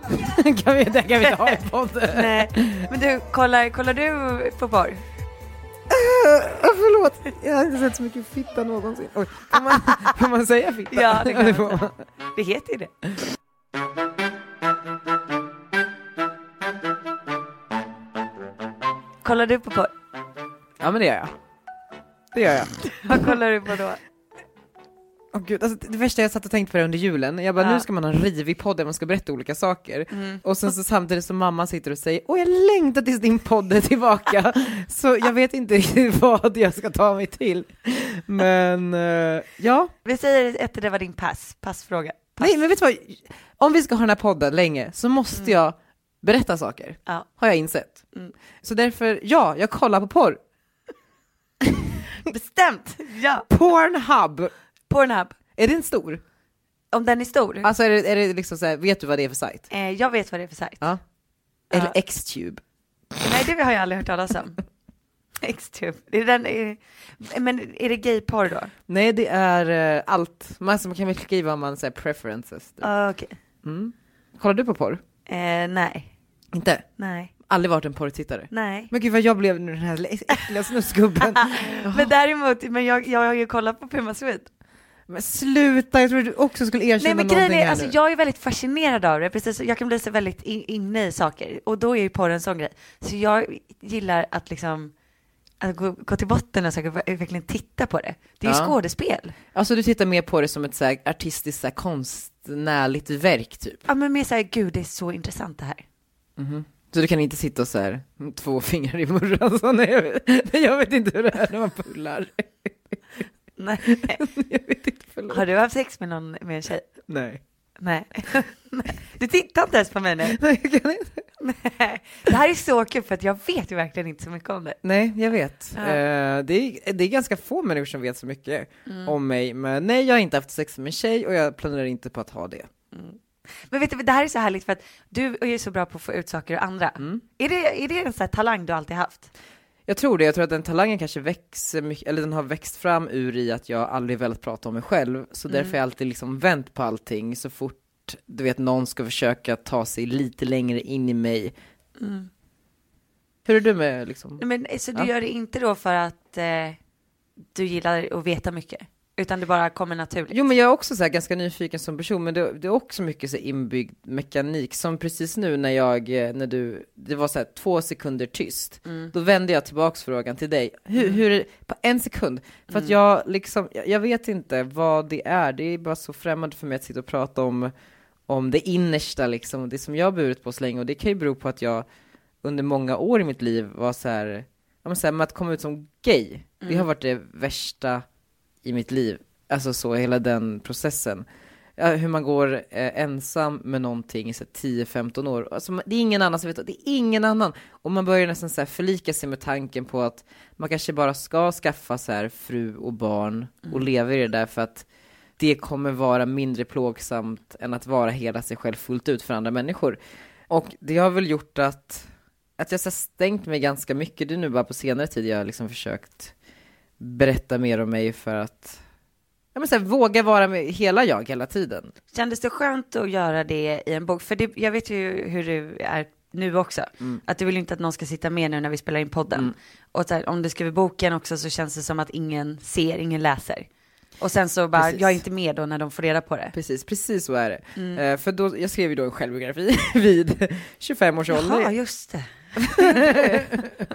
Speaker 6: kan vi, det kan vi inte ha i podden.
Speaker 4: nej. Men du, kollar, kollar du på porr?
Speaker 6: Eh, Förlåt, jag har inte sett så mycket fitta någonsin. Oj, kan, man, kan man säga fitta?
Speaker 4: Ja, det kan man
Speaker 6: får
Speaker 4: säga. Det heter ju det. Kollar du på porr?
Speaker 6: Ja, men det gör jag. Det gör jag.
Speaker 4: Vad kollar du på då?
Speaker 6: Åh gud, alltså, det- det värsta jag satt och tänkte på det under julen, jag bara
Speaker 4: Ja.
Speaker 6: nu ska man ha en rivig podd där man ska berätta olika saker. Och sen så samtidigt som mamma sitter och säger åh jag längtar tills din podd är tillbaka. så jag vet inte riktigt vad jag ska ta mig till. Men eh, ja,
Speaker 4: Vi säger att det var din pass, passfråga. Pass.
Speaker 6: nej men vet du vad, om vi ska ha den här podden länge så måste jag berätta saker.
Speaker 4: Ja.
Speaker 6: har jag insett.
Speaker 4: Mm.
Speaker 6: Så därför, ja, jag kollar på porr.
Speaker 4: Bestämt! Ja!
Speaker 6: Pornhub,
Speaker 4: Pornhub.
Speaker 6: är den stor?
Speaker 4: Om den är stor?
Speaker 6: Alltså är det, är det liksom så här, vet du vad det är för sajt?
Speaker 4: Eh, jag vet vad det är för sajt.
Speaker 6: Ja. Eller Xtube?
Speaker 4: Nej, det har jag aldrig hört talas om. Xtube. Är den, är, men är det gayporr då?
Speaker 6: Nej, det är eh, allt. Man, man kan väl skriva om man säger preferences. typ.
Speaker 4: Ah, Okej.
Speaker 6: Kollar du på porr?
Speaker 4: Eh, nej,
Speaker 6: Inte?
Speaker 4: nej,
Speaker 6: Aldrig varit en porrtittare?
Speaker 4: nej.
Speaker 6: Men gud vad jag blev nu den här äckliga snusgubben.
Speaker 4: Men däremot, men jag, jag har ju kollat på Puma Swede.
Speaker 6: Men sluta, jag trodde du också skulle erkänna
Speaker 4: Nej men
Speaker 6: någonting
Speaker 4: grejen är,
Speaker 6: här
Speaker 4: alltså
Speaker 6: nu.
Speaker 4: jag är väldigt fascinerad av det, precis, jag kan bli så väldigt in, inne i saker och då är ju porr en sån grej. Så jag gillar att liksom att gå, gå till botten och saker, verkligen titta på det. Det är ju
Speaker 6: Ja.
Speaker 4: skådespel.
Speaker 6: Alltså du tittar mer på det som ett så här, artistiskt, så här, konstnärligt verk typ?
Speaker 4: Ja men mer såhär, gud det är så intressant det här.
Speaker 6: Mhm. Så du kan inte sitta och så här, mm, två fingrar i murran så nej, jag, vet, nej, jag vet inte hur det är när man pullar.
Speaker 4: Nej.
Speaker 6: Jag vet inte, förlåt.
Speaker 4: Har du haft sex med någon, med en tjej?
Speaker 6: Nej.
Speaker 4: Nej. Du tittar inte ens på mig nu.
Speaker 6: Nej, jag kan inte.
Speaker 4: Nej. Det här är så kul för att jag vet ju verkligen inte så mycket om det.
Speaker 6: Nej, jag vet.
Speaker 4: Ja.
Speaker 6: Eh, det, är, det är ganska få människor som vet så mycket
Speaker 4: Mm.
Speaker 6: om mig, men nej, jag har inte haft sex med en tjej och jag planerar inte på att ha det.
Speaker 4: Mm. Men vet du, det här är så härligt för att du är ju så bra på att få ut saker ur andra.
Speaker 6: Mm.
Speaker 4: Är, det, är det en sån här talang du alltid haft?
Speaker 6: Jag tror det, jag tror att den talangen kanske växer mycket, eller den har växt fram ur i att jag aldrig velat prata om mig själv,
Speaker 4: Mm.
Speaker 6: så därför har jag alltid liksom vänt på allting så fort du vet någon ska försöka ta sig lite längre in i mig. Hur är du med liksom?
Speaker 4: Nej, Men, så du
Speaker 6: Mm. Ja.
Speaker 4: gör det inte då för att eh, du gillar att veta mycket? Utan det bara kommer naturligt?
Speaker 6: Jo men jag är också så här ganska nyfiken som person, men det, det är också mycket så här inbyggd mekanik, som precis nu när jag, eh, när du, det var så här två sekunder tyst, då vände jag tillbaks frågan till dig, hur, hur på en sekund, för att jag liksom, jag, jag vet inte vad det är, det är bara så främmande för mig att sitta och prata om, om det innersta liksom, och det som jag har burit på så länge, och det kan ju bero på att jag under många år i mitt liv var så här, ja men så här, med att komma ut som gay, det har varit det värsta i mitt liv. Alltså så, hela den processen. Ja, hur man går eh, ensam med någonting i så här 10-15 år. Alltså, man- det är ingen annan som vet, det är ingen annan. Och man börjar nästan så här förlika sig med tanken på att man kanske bara ska skaffa så här fru och barn och leva i det där för att det kommer vara mindre plågsamt än att vara hela sig själv fullt ut för andra människor. Och det har väl gjort att att jag så här stängt mig ganska mycket. Det är nu bara på senare tid jag har liksom försökt berätta mer om mig för att ja, men så här, våga vara med hela jag hela tiden.
Speaker 4: Kändes det skönt att göra det i en bok? För det, jag vet ju hur du är nu också.
Speaker 6: Mm.
Speaker 4: Att du vill inte att någon ska sitta med nu när vi spelar in podden. Och så här, om du skriver boken också så känns det som att ingen ser, ingen läser. Och sen så bara,
Speaker 6: Precis.
Speaker 4: jag är inte med då när de får reda på det.
Speaker 6: Precis, precis så är det. Eh, för då, jag skrev ju då en självbiografi vid 25 års ålder.
Speaker 4: Ja, just det.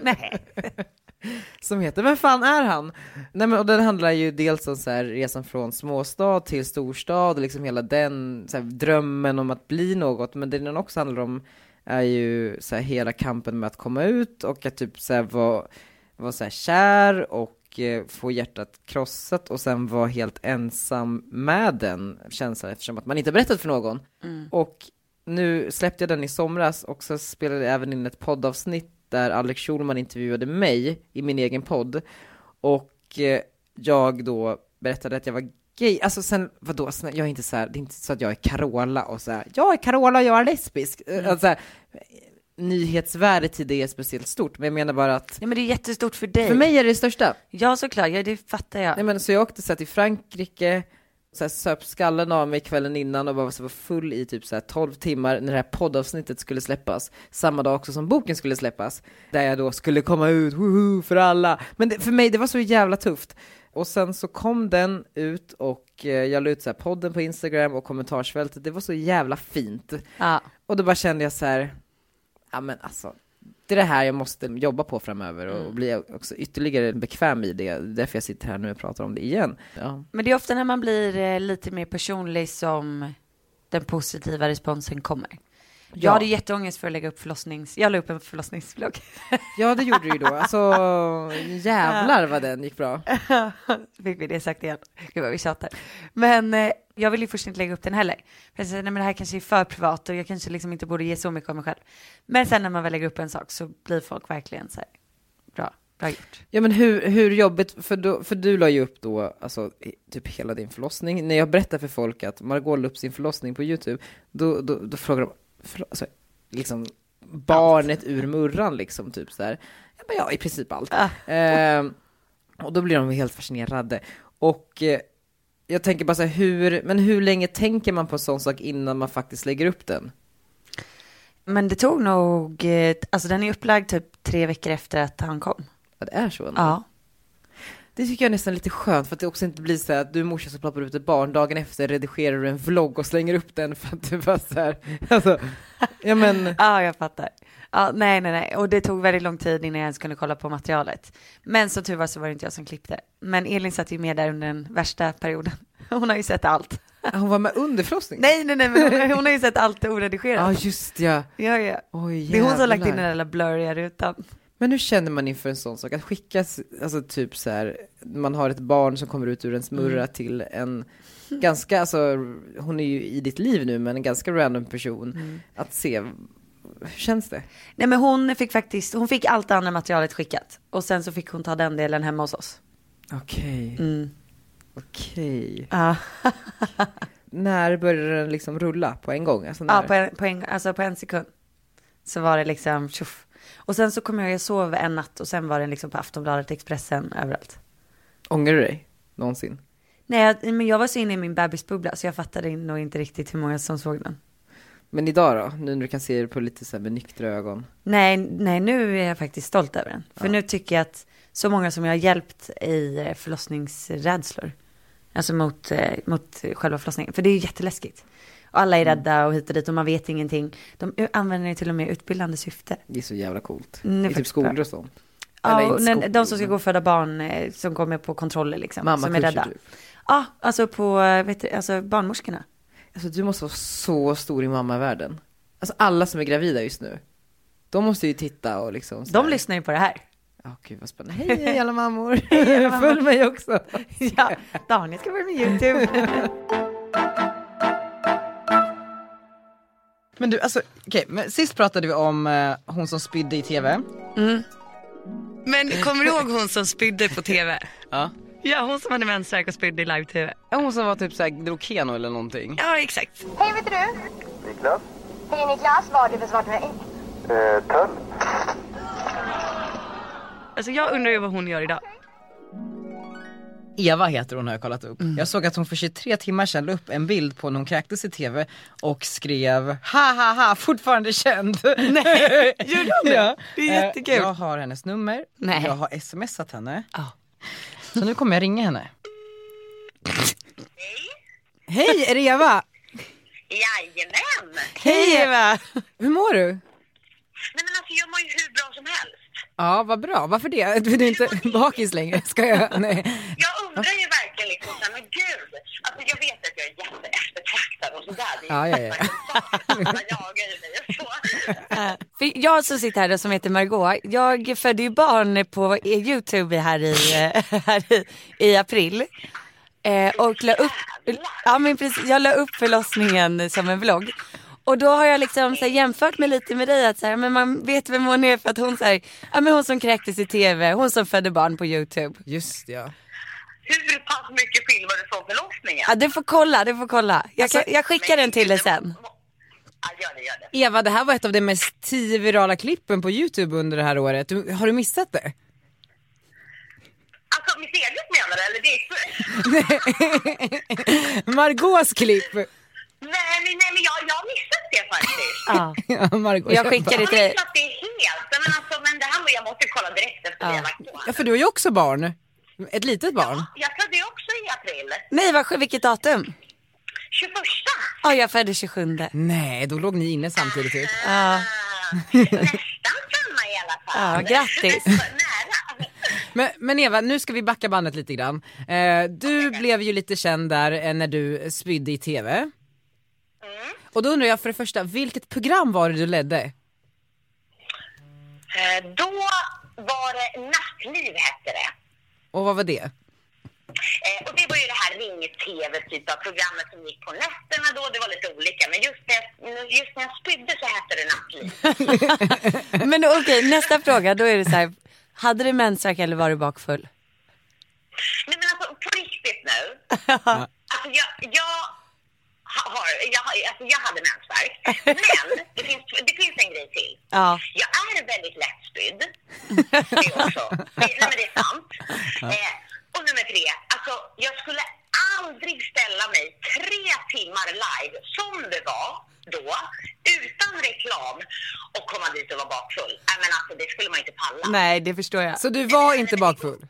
Speaker 4: Nej.
Speaker 6: som heter Vem fan är han? Nej, men, och den handlar ju dels om så här, resan från småstad till storstad, och liksom hela den så här, drömmen om att bli något, men det den också handlar om är ju så här, hela kampen med att komma ut och att typ så här, vara var, så här, kär och eh, få hjärtat krossat och sen vara helt ensam med den känslan eftersom att man inte berättat för någon. Och nu släppte jag den i somras och så spelade jag även in ett poddavsnitt där Alex Schulman intervjuade mig i min egen podd och eh, jag då berättade att jag var gay, alltså sen vadå, snä- jag är inte så här, det är inte så att jag är Carola och så här, jag är Carola och jag är lesbisk. Eh, Alltså, så här, nyhetsvärdet i det är speciellt stort, men jag menar bara att
Speaker 4: Nej men det är jättestort för dig.
Speaker 6: för mig är det det största.
Speaker 4: Ja såklart, ja, det fattar jag.
Speaker 6: Nej, men, så jag åkte så här, till Frankrike, så här, söp skallen av mig kvällen innan och bara så var full i typ så här, 12 timmar när det här poddavsnittet skulle släppas. Samma dag också som boken skulle släppas. Där jag då skulle komma ut, woho, för alla. Men det, för mig, det var så jävla tufft. Och sen så kom den ut och eh, jag la ut så här, podden på Instagram och kommentarsfältet. Det var så jävla fint.
Speaker 4: Ja.
Speaker 6: Och då bara kände jag så här, ja men alltså, det är det här jag måste jobba på framöver och bli också ytterligare bekväm i det. Därför jag sitter här nu och pratar om det igen. Ja.
Speaker 4: Men det är ofta när man blir eh, lite mer personlig som den positiva responsen kommer. Jag
Speaker 6: Ja.
Speaker 4: hade jätteångest för att lägga upp förlossnings... Jag la upp en förlossningsvlogg.
Speaker 6: ja, det gjorde du ju då. Alltså, jävlar vad den gick bra.
Speaker 4: Fick vi det sagt igen. Gud vad vi tjatar. Men eh, jag ville ju först inte lägga upp den heller. För jag tänkte, nej men det här kanske är för privat och jag kanske liksom inte borde ge så mycket av mig själv. Men sen när man väl lägger upp en sak så blir folk verkligen så här, bra, bra gjort.
Speaker 6: Ja men hur, hur jobbigt, för, då, för du la ju upp då, alltså i- typ hela din förlossning. När jag berättar för folk att Margot la upp sin förlossning på YouTube, då, då, då frågar de, förlo- alltså, liksom barnet ur murran liksom, typ sådär. Jag bara, ja i princip allt. Ehm, och då blir de helt fascinerade. Och eh, jag tänker bara så här, hur, men hur länge tänker man på en sån sak innan man faktiskt lägger upp den?
Speaker 4: Men det tog nog, eh, alltså den är upplagd typ tre veckor efter att han kom.
Speaker 6: Ja, det är så. ändå.
Speaker 4: Ja.
Speaker 6: Det tycker jag är nästan lite skönt för att det också inte blir så här att du är morsan som ploppar ut ett barn, dagen efter redigerar du en vlogg och slänger upp den för att du bara så här, alltså, ja men,
Speaker 4: Ja, jag fattar. Ja, nej, nej, nej. Och det tog väldigt lång tid innan jag ens kunde kolla på materialet. Men som tur var så var det inte jag som klippte. Men Elin satt ju med där under den värsta perioden. Hon har ju sett allt.
Speaker 6: ah, hon var med under förlossningen?
Speaker 4: Nej, nej, nej, men hon, hon har ju sett allt oredigerat.
Speaker 6: Ja just ja,
Speaker 4: Ja, ja.
Speaker 6: oj
Speaker 4: Det är hon som har lagt in
Speaker 6: jävlar.
Speaker 4: den där lilla blurriga rutan.
Speaker 6: Men hur känner man inför en sån sak? Att skickas, alltså typ så här, man har ett barn som kommer ut ur ens murra
Speaker 4: Mm.
Speaker 6: till en ganska, alltså hon är ju i ditt liv nu men en ganska random person,
Speaker 4: Mm.
Speaker 6: att se, hur känns det?
Speaker 4: Nej, men hon fick faktiskt, hon fick allt det andra materialet skickat. Och sen så fick hon ta den delen hemma hos oss. Mm.
Speaker 6: Okej, okej.
Speaker 4: Ja,
Speaker 6: När började den liksom rulla på en gång? Alltså när?
Speaker 4: ja på, en, på, en, alltså på en sekund. Så var det liksom tjoff. Och sen så kom jag, jag sov en natt och sen var den liksom på Aftonbladet, Expressen, överallt.
Speaker 6: Ångrar du dig någonsin?
Speaker 4: Nej, jag- men jag var så inne i min bebisbubbla så jag fattade nog inte riktigt hur många som såg den.
Speaker 6: Men idag då? Nu när du kan se det på lite så här med nyktra ögon.
Speaker 4: Nej, nej, nu är jag faktiskt stolt över den. För nu tycker jag att så många som jag har hjälpt i eh, förlossningsrädslor, alltså mot, eh, mot själva förlossningen, för det är ju jätteläskigt. Och alla
Speaker 6: Mm.
Speaker 4: är rädda och hit och dit och man vet ingenting. De u- använder det till och med i utbildande syfte.
Speaker 6: Det är så jävla coolt.
Speaker 4: Mm, det är
Speaker 6: I typ
Speaker 4: faktiskt
Speaker 6: skolor
Speaker 4: bra.
Speaker 6: och sånt. Eller
Speaker 4: Ja, och
Speaker 6: inte
Speaker 4: när-
Speaker 6: skol-
Speaker 4: de som ska gå och föda barn eh, som går med på kontroller liksom,
Speaker 6: Mamma
Speaker 4: som är rädda.
Speaker 6: typ.
Speaker 4: Ja, alltså på eh, vet du, alltså barnmorskorna.
Speaker 6: Alltså du måste vara så stor i mammavärlden. Alltså alla som är gravida just nu. De måste ju titta och liksom. så
Speaker 4: De
Speaker 6: här-
Speaker 4: lyssnar ju på det här.
Speaker 6: Ja, gud vad spännande. Hej, hej alla mammor. Följ mig också.
Speaker 4: Ja, Daniel ska börja med YouTube.
Speaker 1: Men du, alltså, okej, men sist pratade vi om eh, hon som spydde i TV.
Speaker 4: Men kommer du ihåg hon som spydde på tv?
Speaker 1: Ja.
Speaker 4: Ja, hon som hade mensvärk och spydde i live-tv.
Speaker 1: Hon som var typ såhär, drog Keno eller någonting.
Speaker 4: Ja, exakt.
Speaker 8: Hej vet du? Niklas. Hej Niklas, vad har du för svart mig?
Speaker 9: Eh, Töll.
Speaker 4: Alltså jag undrar ju vad hon gör idag.
Speaker 8: Eva heter hon har jag kollat upp.
Speaker 6: Mm.
Speaker 8: Jag såg att hon för 23 timmar sedan la upp en bild på när hon kräktes i tv och skrev ha ha ha fortfarande känd. Nej,
Speaker 4: gör hon det? Det är
Speaker 8: Eh,
Speaker 4: jättekul.
Speaker 8: Jag har hennes nummer,
Speaker 4: Nej.
Speaker 8: jag har smsat henne. Så nu kommer jag ringa henne.
Speaker 6: Hej, är det Eva?
Speaker 5: Jajamän!
Speaker 6: Hej Eva! Hur mår du?
Speaker 5: Nej men alltså jag mår ju hur bra som helst.
Speaker 6: Ja, vad bra. Varför det? Du är inte bakis längre, ska jag? Nej.
Speaker 5: Jag undrar ju verkligen liksom så här, men gud. Alltså jag vet att jag är jätte eftertraktad och sådär. Det är
Speaker 6: Ja, ja, ja.
Speaker 5: ja. jagar i mig och så.
Speaker 4: För jag som sitter här och som heter Margot, jag födde ju barn på Youtube här i, här i, i april. Eh, och la upp, ja, men precis, jag la upp förlossningen som en vlogg. Och då har jag liksom så här, jämfört mig lite med dig att så här, men man vet vem hon är för att hon, så här, ja, men hon som kräktes i tv, hon som födde barn på Youtube.
Speaker 6: Just det, ja.
Speaker 5: Hur pass mycket filmar du från förlossningen?
Speaker 4: Ja, du får kolla, du får kolla. Jag, kan, Alltså, jag skickar den till dig sen.
Speaker 5: Ja, gör det, gör det.
Speaker 6: Eva, det här var ett av de mest tio virala klippen på Youtube under det här året. Du, har du missat det?
Speaker 5: Alltså mitt eget menar du? Eller ditt?
Speaker 6: Margaux klipp!
Speaker 5: Nej, men- nej, men jag, jag har missat det faktiskt.
Speaker 4: Ja,
Speaker 6: Ja, Margot,
Speaker 4: jag skickar det
Speaker 5: Jag
Speaker 4: till
Speaker 5: har
Speaker 4: dig.
Speaker 5: missat det helt. Nej, Men alltså, men det här, jag måste ju kolla direkt efter det jag lagt på.
Speaker 6: Ja, för du har ju också barn. Ett litet barn.
Speaker 5: Jag födde ju också i april.
Speaker 4: Nej, vad, vilket datum?
Speaker 5: 21.
Speaker 4: Ja, jag födde 27.
Speaker 6: Nej, då låg ni inne samtidigt typ.
Speaker 4: Ja.
Speaker 5: Nästan samma i alla fall.
Speaker 4: Ja, grattis.
Speaker 5: Nästan Nära.
Speaker 6: Men, men Eva, nu ska vi backa bandet lite grann. Eh, du blev ju lite känd där eh, när du spydde i TV. Och då undrar jag för det första, vilket program var det du ledde?
Speaker 5: Eh, Då var det Nattliv hette det.
Speaker 6: Och vad var det?
Speaker 5: Eh, Och det var ju det här ring-tv typ av programmet som gick på nätterna då. Det var lite olika. Men just, det, just när jag spydde så hette det Nattliv.
Speaker 4: Men okej, nästa fråga. Då är det så här. Hade du mensvärk eller var du bakfull?
Speaker 5: Nej men alltså på riktigt nu. alltså jag, jag har, jag, har- alltså jag hade mensvärk. Men det finns, det finns en grej till.
Speaker 4: Ja.
Speaker 5: Jag är väldigt lättspydd. Det är också. Det, nej men det är sant. Eh, och nummer tre, alltså jag skulle aldrig ställa mig tre timmar live som det var då, utan reklam och komma dit och vara bakfull. Nej men alltså det skulle man inte palla.
Speaker 4: Nej, det förstår jag.
Speaker 6: Så du var inte bakfull?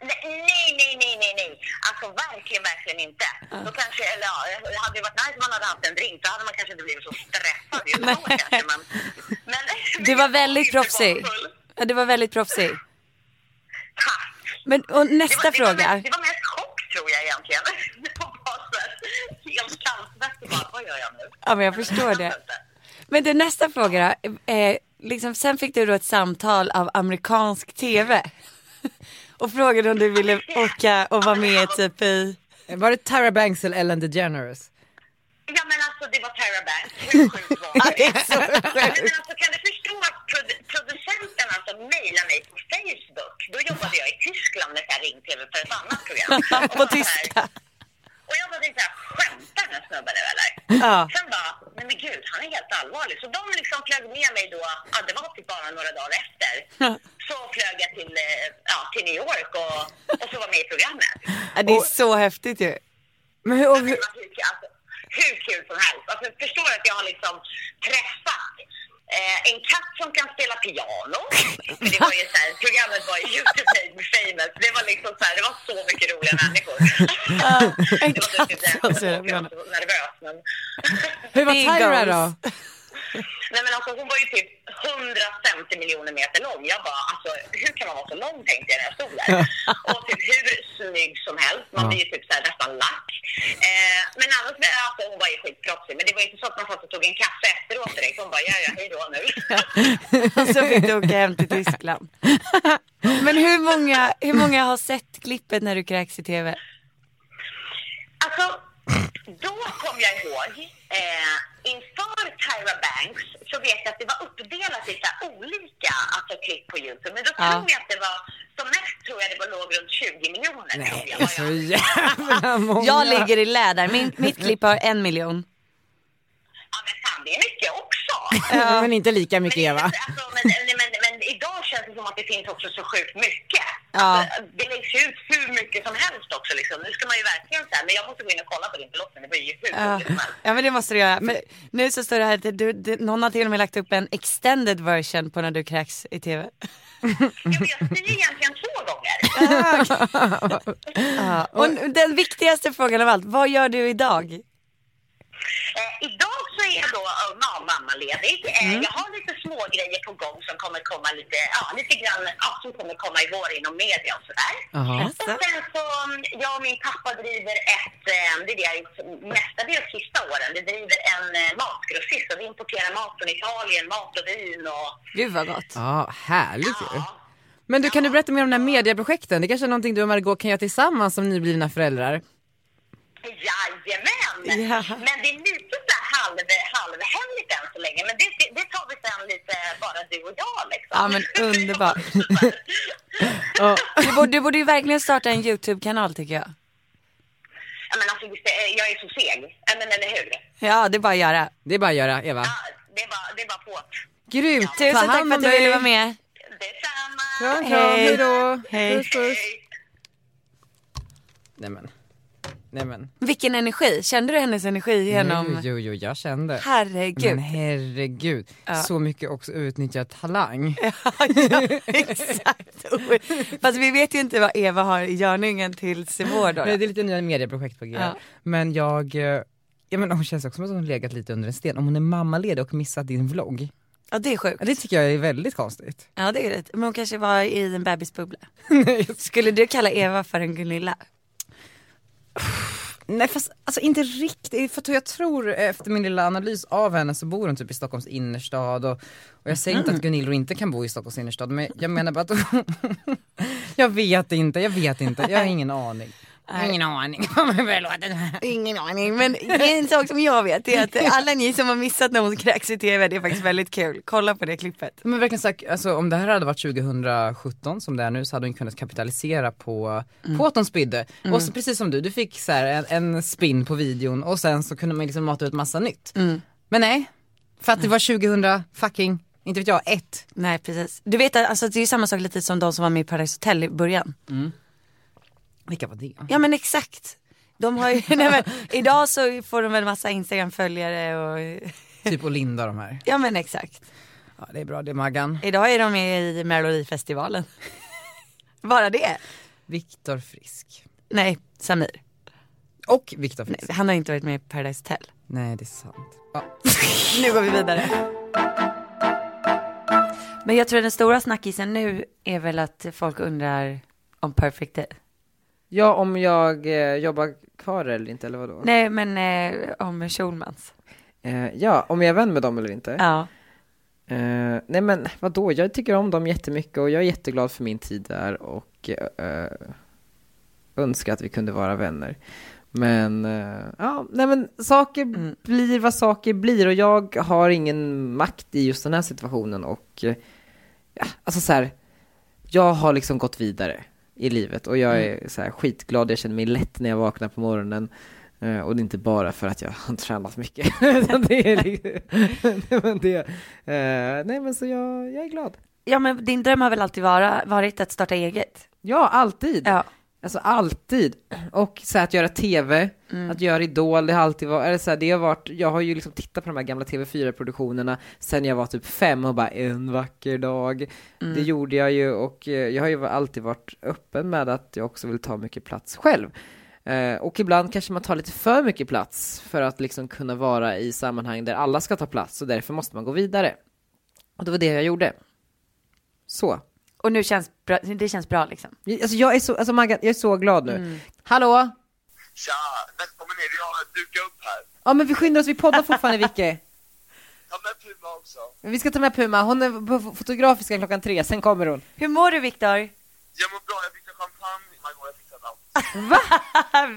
Speaker 5: Nej, nej, nej, nej, nej, nej. Alltså verkligen, verkligen inte. Då kanske, eller ja, det hade ju varit nice om man hade haft en drink. Då hade man kanske inte blivit så stressad just då kanske. Men, men,
Speaker 4: Du var väldigt
Speaker 5: inte
Speaker 4: proffsig.
Speaker 5: bakfull.
Speaker 4: Ja, du var väldigt proffsig.
Speaker 5: Tack.
Speaker 4: Men och
Speaker 5: Det
Speaker 4: nästa
Speaker 5: var, det, var
Speaker 4: fråga.
Speaker 5: mest, det var mest chock tror jag egentligen. Det var bara så här, helt kallsvettig bara, vad gör jag nu?
Speaker 4: Ja, men jag förstår det. Men det nästa fråga då. Eh, liksom, sen fick du då ett samtal av amerikansk tv. Och frågade om du ville åka och vara med typ i...
Speaker 6: Var det Tyra Banks eller Ellen DeGeneres?
Speaker 5: Ja men alltså det var Tara Banks, hur sjukt var det? Nej, men alltså, kan du förstå att prod producenten alltså mejlade mig på Facebook? Då jobbade jag i Tyskland med så här ring-tv för ett annat program. Och
Speaker 4: På
Speaker 5: så här-
Speaker 4: tyska.
Speaker 5: Och jag bara tänkte såhär, skämtar den här snubben nu eller?
Speaker 4: Ja.
Speaker 5: Sen bara, nej men gud han är helt allvarlig. Så de liksom flög med mig då, ja det var typ bara några dagar efter. Så flög jag till, eh, ja, till New York och, och så var med i programmet.
Speaker 4: Ja, det är så häftigt ju.
Speaker 6: Men hur, och
Speaker 5: Men
Speaker 6: hur,
Speaker 5: det var hur kul- Alltså, hur kul som helst. Alltså, jag förstår att jag har liksom träffat eh, en katt som kan spela piano. För det var ju så här, programmet var ju Youtube Made Famous. Det var liksom så här, det var så mycket roliga människor.
Speaker 4: en
Speaker 5: det var
Speaker 4: katt
Speaker 5: typ
Speaker 4: som
Speaker 6: Alltså,
Speaker 5: därför
Speaker 4: spelar
Speaker 5: jag var så nervös. Men...
Speaker 6: hur var
Speaker 4: det
Speaker 6: Tyra
Speaker 4: goes.
Speaker 6: då?
Speaker 5: Nej men alltså hon var ju typ 150 miljoner meter lång. Jag bara, alltså hur kan man vara så lång tänkte jag när jag stod där. Och typ hur snygg som helst. Man blir ju typ så här nästan lack. Eh, men annars, alltså hon var ju skitproffsig. Men det var ju inte så att man satt och tog en kaffe efteråt direkt. Hon bara, ja ja, hej då nu.
Speaker 4: Och så Alltså, fick du åka hem till Tyskland. Men hur många, hur många har sett klippet när du kräks i tv?
Speaker 5: Alltså, då kom jag ihåg, eh, inför Tyra Banks så vet jag att det var uppdelat i så här olika alltså, klipp på Youtube. Men då
Speaker 4: Ja.
Speaker 5: tror jag att det var, som mest tror jag det var låg runt 20 miljoner. tror jag, vad jag-
Speaker 6: Så jävla många.
Speaker 4: Jag ligger i lä där, Min, mitt klipp har en miljon.
Speaker 5: Ja, men fan, det är mycket också.
Speaker 6: Men inte lika mycket
Speaker 5: Men,
Speaker 6: Eva.
Speaker 5: alltså, men, men, men, men idag känns det som att det finns också så sjukt mycket.
Speaker 2: Ja.
Speaker 5: Alltså, det läggs ju ut hur mycket som helst också liksom. Nu ska man ju verkligen säga, men jag måste gå in och kolla på din förlossning, det var ju hur
Speaker 4: Ja.
Speaker 5: mycket som helst.
Speaker 4: ja men det måste du göra. Men nu så står det här att du, du, någon har till och med lagt upp en extended version på när du kräks i tv.
Speaker 5: Jag vet, det är egentligen två gånger.
Speaker 4: Ja. Och nu- den viktigaste frågan av allt, vad gör du idag?
Speaker 5: Eh, idag så är jag då eh, ma- mammaledig. Eh, Jag har lite små grejer på gång som kommer komma lite, ja, lite grann, ja, som kommer komma i vår inom media och sådär. Och sen så, mm, jag och min pappa driver ett, eh, det är det jag har gjort mestadels sista åren, vi driver en eh, matgrossist och vi importerar mat från Italien, mat och vin och
Speaker 4: Gud vad gott.
Speaker 6: Ja, härligt ju.
Speaker 5: ja.
Speaker 6: Men du, kan du berätta mer om de här medieprojekten? Det kanske är någonting du och Margot kan göra tillsammans som nyblivna föräldrar?
Speaker 5: Jajamän!
Speaker 4: Ja.
Speaker 5: Men det är lite så här halv, halvhemligt än så länge. Men det, det, det tar vi sen lite, bara du och jag liksom.
Speaker 4: Ja, men underbart. Du borde, du borde ju verkligen starta en YouTube-kanal tycker jag.
Speaker 5: ja, men alltså, visst, eh, jag är så seg. Ja, Men eller hur?
Speaker 4: Ja, det är bara att göra.
Speaker 6: Det är bara att göra, Eva.
Speaker 5: Ja, det är bara, det är bara på.
Speaker 6: Grymt! Ta
Speaker 4: Tusen tack
Speaker 6: hand
Speaker 4: för
Speaker 6: om
Speaker 4: att du ville
Speaker 6: dig.
Speaker 4: vara med.
Speaker 5: Detsamma!
Speaker 6: Kram, kram,
Speaker 4: Hej.
Speaker 6: hej då!
Speaker 4: Hej.
Speaker 6: Puss, puss.
Speaker 5: Hej.
Speaker 6: Nej men. Nej men.
Speaker 4: Vilken energi, kände du hennes energi genom?
Speaker 6: Jo, jo, jo, jag kände. Men
Speaker 4: Herregud.
Speaker 6: herregud, så mycket också utnyttjad talang.
Speaker 4: Exakt. Fast vi vet ju inte vad Eva har i görningen tills i vår då.
Speaker 6: Nej, det är lite nya medieprojekt på g.
Speaker 4: Ja.
Speaker 6: Men jag, eh, ja men hon känns också som att hon legat lite under en sten. Om hon är mammaledig och missat din vlogg.
Speaker 4: Ja det är sjukt.
Speaker 6: Ja, det tycker jag är väldigt konstigt.
Speaker 4: Ja det är rätt. Men hon kanske var i en bebisbubbla. Skulle du kalla Eva för en Gunilla?
Speaker 6: Nej fast alltså inte riktigt, för att jag tror eh, efter min lilla analys av henne så bor hon typ i Stockholms innerstad och, och jag säger inte att Gunilla inte kan bo i Stockholms innerstad men jag menar bara att hon- Jag vet inte, jag vet inte, jag har ingen aning. Ingen aning om hur jag låter.
Speaker 4: Ingen aning men en sak som jag vet är att alla ni som har missat när hon kräks i tv det är faktiskt väldigt kul. Kolla på det klippet.
Speaker 6: Men verkligen sagt, alltså, om det här hade varit 2017 som det är nu så hade hon kunnat kapitalisera på,
Speaker 1: Mm.
Speaker 6: på att hon spydde. Och så precis som du, du fick så här en, en spin på videon och sen så kunde man liksom mata ut massa nytt.
Speaker 1: Mm.
Speaker 6: Men nej, för att det var 2000 fucking, inte vet jag, ett.
Speaker 4: Nej precis. Du vet att alltså, det är ju samma sak lite som de som var med i Paradise Hotel i början.
Speaker 6: Vilka var det?
Speaker 4: Ja men exakt. De har ju, nej, men, idag så får de väl massa Instagram-följare och
Speaker 6: Typ Olinda de här.
Speaker 4: ja men exakt.
Speaker 6: Ja det är bra det Maggan.
Speaker 4: Idag är de med i Melodifestivalen. Bara det.
Speaker 6: Viktor Frisk.
Speaker 4: Nej, Samir.
Speaker 6: Och Viktor Frisk.
Speaker 4: Nej, han har inte varit med i Paradise Hotel.
Speaker 6: Nej. det är sant. Ja.
Speaker 4: Nu går vi vidare. Men jag tror den stora snackisen nu är väl att folk undrar om Perfect Day.
Speaker 1: Ja, om jag eh, jobbar kvar eller inte, eller vadå?
Speaker 4: Nej, men eh, om Schulmans.
Speaker 1: Eh, ja, om jag är vän med dem eller inte?
Speaker 4: Ja.
Speaker 1: Eh, nej men vadå, jag tycker om dem jättemycket och jag är jätteglad för min tid där och eh, önskar att vi kunde vara vänner. Men, eh, ja, nej men saker blir vad saker blir och jag har ingen makt i just den här situationen och, eh, ja, alltså så här, jag har liksom gått vidare i livet och jag är så här skitglad, jag känner mig lätt när jag vaknar på morgonen. Eh, Och det är inte bara för att jag har tränat mycket. Utan det är liksom, nej, men det, eh, nej men så jag, jag är glad.
Speaker 4: Ja, men din dröm har väl alltid vara, varit att starta eget?
Speaker 1: Ja, alltid.
Speaker 4: Ja.
Speaker 1: Alltså alltid. Och så här, att göra tv, att göra Idol, det har alltid varit, eller så här, det har varit, jag har ju liksom tittat på de här gamla TV4-produktionerna sen jag var typ fem och bara en vacker dag. Det gjorde jag ju och eh, jag har ju alltid varit öppen med att jag också vill ta mycket plats själv. Eh, och ibland kanske man tar lite för mycket plats för att liksom kunna vara i sammanhang där alla ska ta plats och därför måste man gå vidare. Och det var det jag gjorde. Så.
Speaker 4: Och nu känns bra, det känns bra liksom.
Speaker 1: Alltså jag är så, alltså Maggan, jag är så glad nu. Hallå?
Speaker 5: Tja, välkommen ner. Vi har dukat upp här.
Speaker 1: Ja men vi skyndar oss, vi poddar fortfarande Vicky.
Speaker 5: Ta med Puma också.
Speaker 1: Men Vi ska ta med Puma, hon är på Fotografiska klockan tre, sen kommer hon.
Speaker 4: Hur mår du Viktor?
Speaker 5: Jag mår bra. Jag fixar champagne. Margot, jag fixar allt.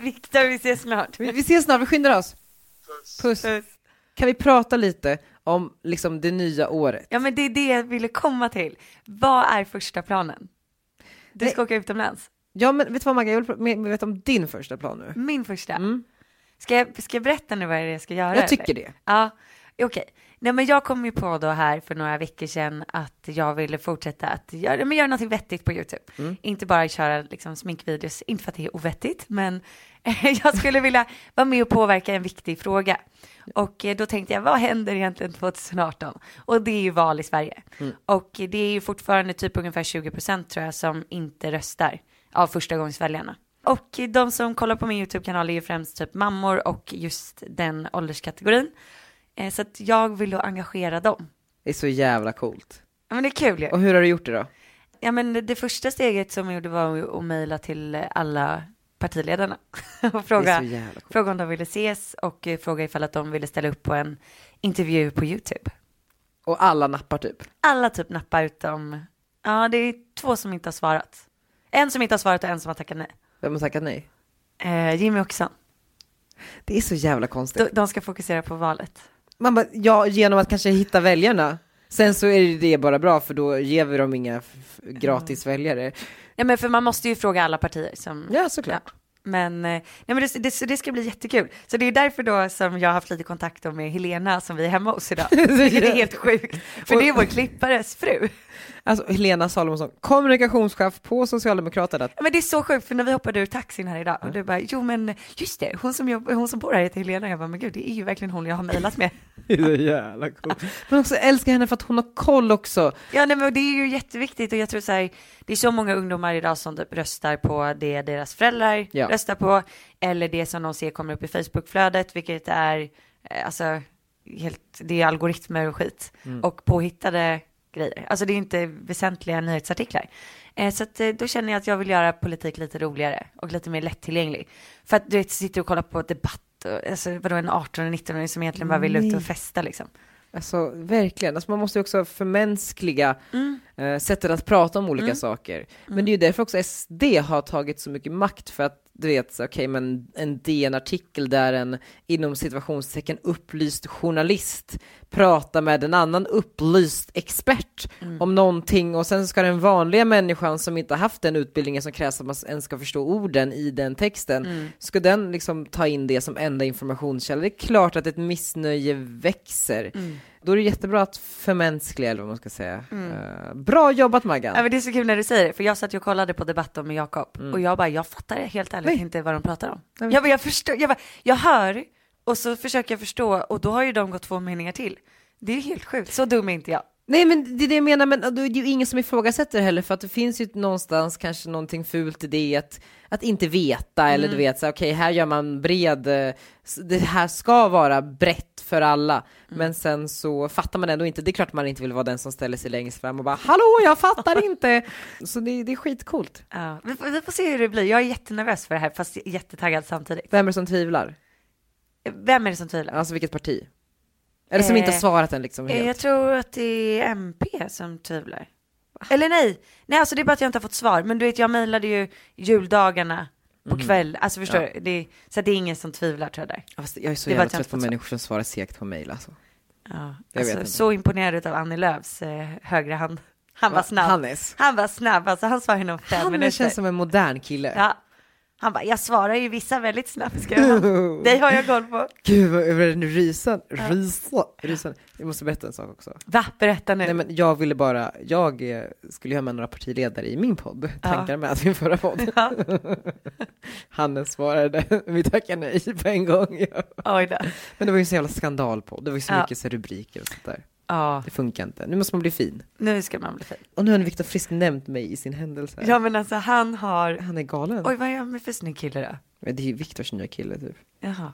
Speaker 4: Viktor, vi ses snart.
Speaker 1: Vi, vi ses snart, vi skyndar oss. Puss. Kan vi prata lite om liksom det nya året?
Speaker 4: Ja men det är det jag ville komma till. Vad är första planen? Du ska åka utomlands.
Speaker 1: Ja men vet du vad Maggan, jag vill pr- med- veta om din första plan nu. Mm.
Speaker 4: Min första. Ska, jag, ska jag berätta nu vad det är jag ska göra?
Speaker 1: Jag tycker det.
Speaker 4: Ja, okej. Nej men jag kom ju på då här för några veckor sedan att jag ville fortsätta att göra, men göra någonting vettigt på YouTube. Inte bara köra liksom sminkvideos, inte för att det är ovettigt, men jag skulle vilja vara med och påverka en viktig fråga. Och eh, då tänkte jag, vad händer egentligen 2018? Och det är ju val i Sverige. Och det är ju fortfarande typ ungefär 20 procent tror jag som inte röstar av förstagångsväljarna. Och de som kollar på min YouTube-kanal är ju främst typ mammor och just den ålderskategorin. Eh, Så att jag vill då engagera dem.
Speaker 1: Det är så jävla coolt.
Speaker 4: Ja men det är kul ju.
Speaker 1: Och hur har du gjort det då?
Speaker 4: Ja men det- det första steget som jag gjorde var ju att mejla till eh, alla partiledarna och
Speaker 1: Det är
Speaker 4: fråga,
Speaker 1: så jävla coolt.
Speaker 4: fråga om de ville ses och eh, fråga ifall att de ville ställa upp på en intervju på YouTube.
Speaker 1: Och alla nappar typ.
Speaker 4: Alla typ nappar utom, ja det är två som inte har svarat. En som inte har svarat och en som har tackat nej.
Speaker 1: Vem har tackat nej?
Speaker 4: Eh, Jimmy Åkesson.
Speaker 1: Det är så jävla konstigt.
Speaker 4: De, de ska fokusera på valet.
Speaker 1: Man bara, ja, genom att kanske hitta väljarna. Sen så är ju det bara bra för då ger vi dem inga f- f- gratis väljare.
Speaker 4: Ja men för man måste ju fråga alla partier som
Speaker 1: Ja, såklart.
Speaker 4: Men, eh, nej, men det, det, så det ska bli jättekul. Så det är därför då som jag har haft lite kontakt då med Helena som vi är hemma hos idag. Vilket är helt sjukt. För det är vår klippares fru.
Speaker 1: Alltså Helena Salomonsson, kommunikationschef på Socialdemokraterna.
Speaker 4: Ja, Men det är så sjukt för när vi hoppade ur taxin här idag och du bara, jo men just det, hon som, jobb, hon som bor här heter Helena. Jag bara, men gud det är ju verkligen hon jag har mejlat med.
Speaker 1: Det är så jävla coolt. Men också älskar henne för att hon har koll också.
Speaker 4: Ja nej, men det är ju jätteviktigt och jag tror så här, det är så många ungdomar idag som typ röstar på det deras föräldrar
Speaker 1: Ja.
Speaker 4: röstar på eller det som de ser kommer upp i Facebookflödet vilket är eh, alltså helt, det är algoritmer och skit och påhittade grejer. Alltså det är inte väsentliga nyhetsartiklar. Eh, så att, eh, då känner jag att jag vill göra politik lite roligare och lite mer lättillgänglig. För att du vet, sitter och kollar på debatt och alltså, vadå en 18-19-åring som egentligen bara vill ut och festa liksom.
Speaker 1: Alltså verkligen, alltså, man måste ju också förmänskliga eh, sättet att prata om olika saker. Men det är ju därför också SD har tagit så mycket makt för att du vet, så, okej men en DN-artikel där en inom situationstecken upplyst journalist pratar med en annan upplyst expert om någonting och sen ska den vanliga människan som inte har haft den utbildningen som krävs att man ens ska förstå orden i den texten, ska den liksom ta in det som enda informationskälla? Det är klart att ett missnöje växer. Då är det jättebra att förmänskliga, eller vad man ska säga. Eh, bra jobbat Maggan!
Speaker 4: Ja, men det är så kul när du säger det, för jag satt ju och kollade på debatten med Jakob och jag bara, jag fattar helt ärligt inte vad de pratar om. Mm. Jag, bara, jag förstår, jag bara, jag hör och så försöker jag förstå och då har ju de gått två meningar till. Det är helt sjukt, så dum är inte jag.
Speaker 1: Nej men det är det jag menar, men det är ju ingen som ifrågasätter det heller för att det finns ju någonstans kanske någonting fult i det att, att inte veta
Speaker 4: Mm.
Speaker 1: eller du vet så här, okej här gör man bred, eh, s- det här ska vara brett för alla
Speaker 4: Mm.
Speaker 1: men sen så fattar man ändå inte, det är klart man inte vill vara den som ställer sig längst fram och bara hallå jag fattar inte! Så det, det är skitcoolt.
Speaker 4: Ja, vi, får- vi får se hur det blir, jag är jättenervös för det här fast jättetaggad samtidigt.
Speaker 1: Vem är det som tvivlar?
Speaker 4: Vem är det som tvivlar?
Speaker 1: Alltså vilket parti? Eller som inte har
Speaker 4: Eh,
Speaker 1: svarat än liksom
Speaker 4: Eh, Jag
Speaker 1: helt.
Speaker 4: tror att det är MP som tvivlar. Eller nej, nej alltså det är bara att jag inte har fått svar. Men du vet jag mejlade ju juldagarna på kväll, alltså förstår du? Det, är- så att det är ingen som tvivlar tror jag där.
Speaker 1: Ja, fast Jag är så
Speaker 4: det var
Speaker 1: jävla
Speaker 4: ett
Speaker 1: trött på
Speaker 4: jämnt-
Speaker 1: människor som svarar segt på mejl alltså.
Speaker 4: Ja,
Speaker 1: Jag vet
Speaker 4: alltså,
Speaker 1: inte.
Speaker 4: så imponerad av Annie Lööfs eh, högra hand. Han var snabb.
Speaker 1: Hannes.
Speaker 4: Han var snabb, alltså han svarade inom fem
Speaker 1: Han
Speaker 4: minuter.
Speaker 1: känns som en modern kille.
Speaker 4: ja. Han bara, jag svarar ju vissa väldigt snabbt. Ska jag ha. Dig har jag koll på.
Speaker 1: Gud vad jag började nu rysa, rysa, rysa. Jag måste berätta en sak också.
Speaker 4: Va, berätta nu.
Speaker 1: Nej men jag ville bara, jag eh, skulle ju ha med några partiledare i min podd, tankar med min förra podd.
Speaker 4: Ja.
Speaker 1: Hannes svarade, vi tackar nej på en gång. Ja.
Speaker 4: Oj då.
Speaker 1: Men det var ju en så jävla skandalpodd, det var ju så
Speaker 4: Ja.
Speaker 1: mycket så här rubriker och sånt där.
Speaker 4: Ja,
Speaker 1: Det funkar inte, nu måste man bli fin.
Speaker 4: nu ska man bli fin.
Speaker 1: Och nu har Viktor Frisk nämnt mig i sin händelse.
Speaker 4: Ja men alltså han har,
Speaker 1: Han är galen.
Speaker 4: oj vad är han med för snygg kille då?
Speaker 1: Men det är ju Viktors nya kille typ.
Speaker 4: Jaha.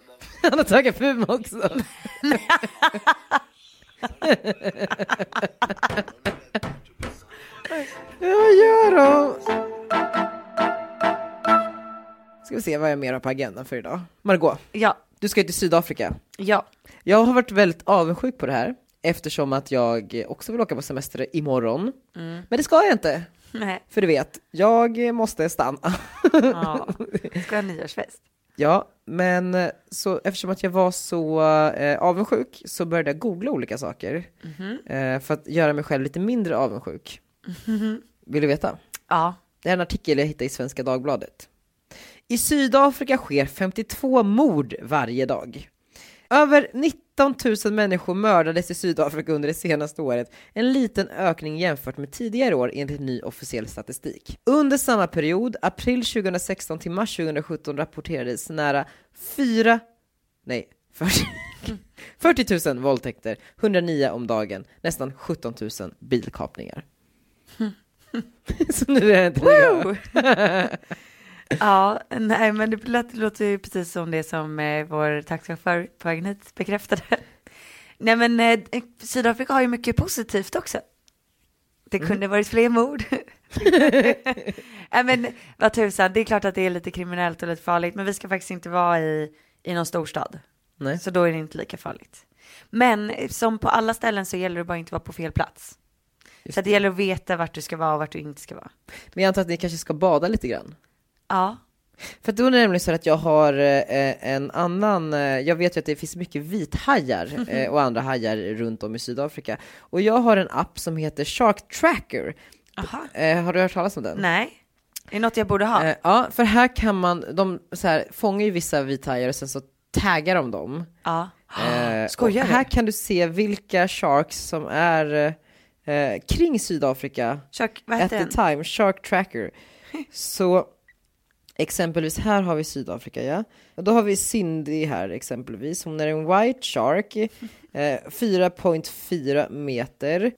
Speaker 1: Han har tagit fum också. Vad gör de? Ska vi se vad jag mer har på agendan för idag. Margot,
Speaker 4: Ja,
Speaker 1: du ska ju till Sydafrika.
Speaker 4: ja.
Speaker 1: Jag har varit väldigt avundsjuk på det här eftersom att jag också vill åka på semester imorgon. Men det ska jag inte,
Speaker 4: Nej,
Speaker 1: för du vet, jag måste stanna.
Speaker 4: ja. Ska ha nyårsfest.
Speaker 1: Ja, men eh, så eftersom att jag var så eh, avundsjuk så började jag googla olika saker eh, för att göra mig själv lite mindre avundsjuk. Vill du veta?
Speaker 4: Ja,
Speaker 1: Det här är en artikel jag hittade i Svenska Dagbladet. I Sydafrika sker 52 mord varje dag. Över 19 000 människor mördades i Sydafrika under det senaste året, en liten ökning jämfört med tidigare år enligt ny officiell statistik. Under samma period, april 2016 till mars 2017, rapporterades nära 4... Nej, 40, 40 000 våldtäkter, 109 om dagen, nästan 17 000 bilkapningar. Så nu är det inte lika-
Speaker 4: Ja, nej men det låter, låter ju precis som det som eh, vår taxichaufför på vägen hit bekräftade. nej men eh, Sydafrika har ju mycket positivt också. Det kunde varit fler mord. nej men vad tusan, det är klart att det är lite kriminellt och lite farligt men vi ska faktiskt inte vara i, i någon storstad.
Speaker 1: Nej.
Speaker 4: Så då är det inte lika farligt. Men eh, som på alla ställen så gäller det bara inte att vara på fel plats. Så att det gäller att veta vart du ska vara och vart du inte ska vara.
Speaker 1: Men jag antar att ni kanske ska bada lite grann?
Speaker 4: Ja.
Speaker 1: För då är det nämligen så att jag har eh, en annan, eh, jag vet ju att det finns mycket
Speaker 4: Mhm.
Speaker 1: vithajar eh, och andra hajar runt om i Sydafrika. Och jag har en app som heter Shark Tracker.
Speaker 4: Aha.
Speaker 1: Eh, har du hört talas om den?
Speaker 4: Nej. Är det något jag borde ha?
Speaker 1: Eh, ja, för här kan man, de så här, fångar ju vissa vithajar och sen så taggar de dem.
Speaker 4: Ja.
Speaker 1: Eh,
Speaker 4: Skojar
Speaker 1: och
Speaker 4: du?
Speaker 1: Här kan du se vilka sharks som är eh, kring Sydafrika
Speaker 4: Kök, vad
Speaker 1: at
Speaker 4: heter
Speaker 1: the
Speaker 4: den?
Speaker 1: time, Shark Tracker. Så exempelvis här har vi Sydafrika ja. Och då har vi Cindy här exempelvis. Hon är en white shark, eh, 4.4 meter.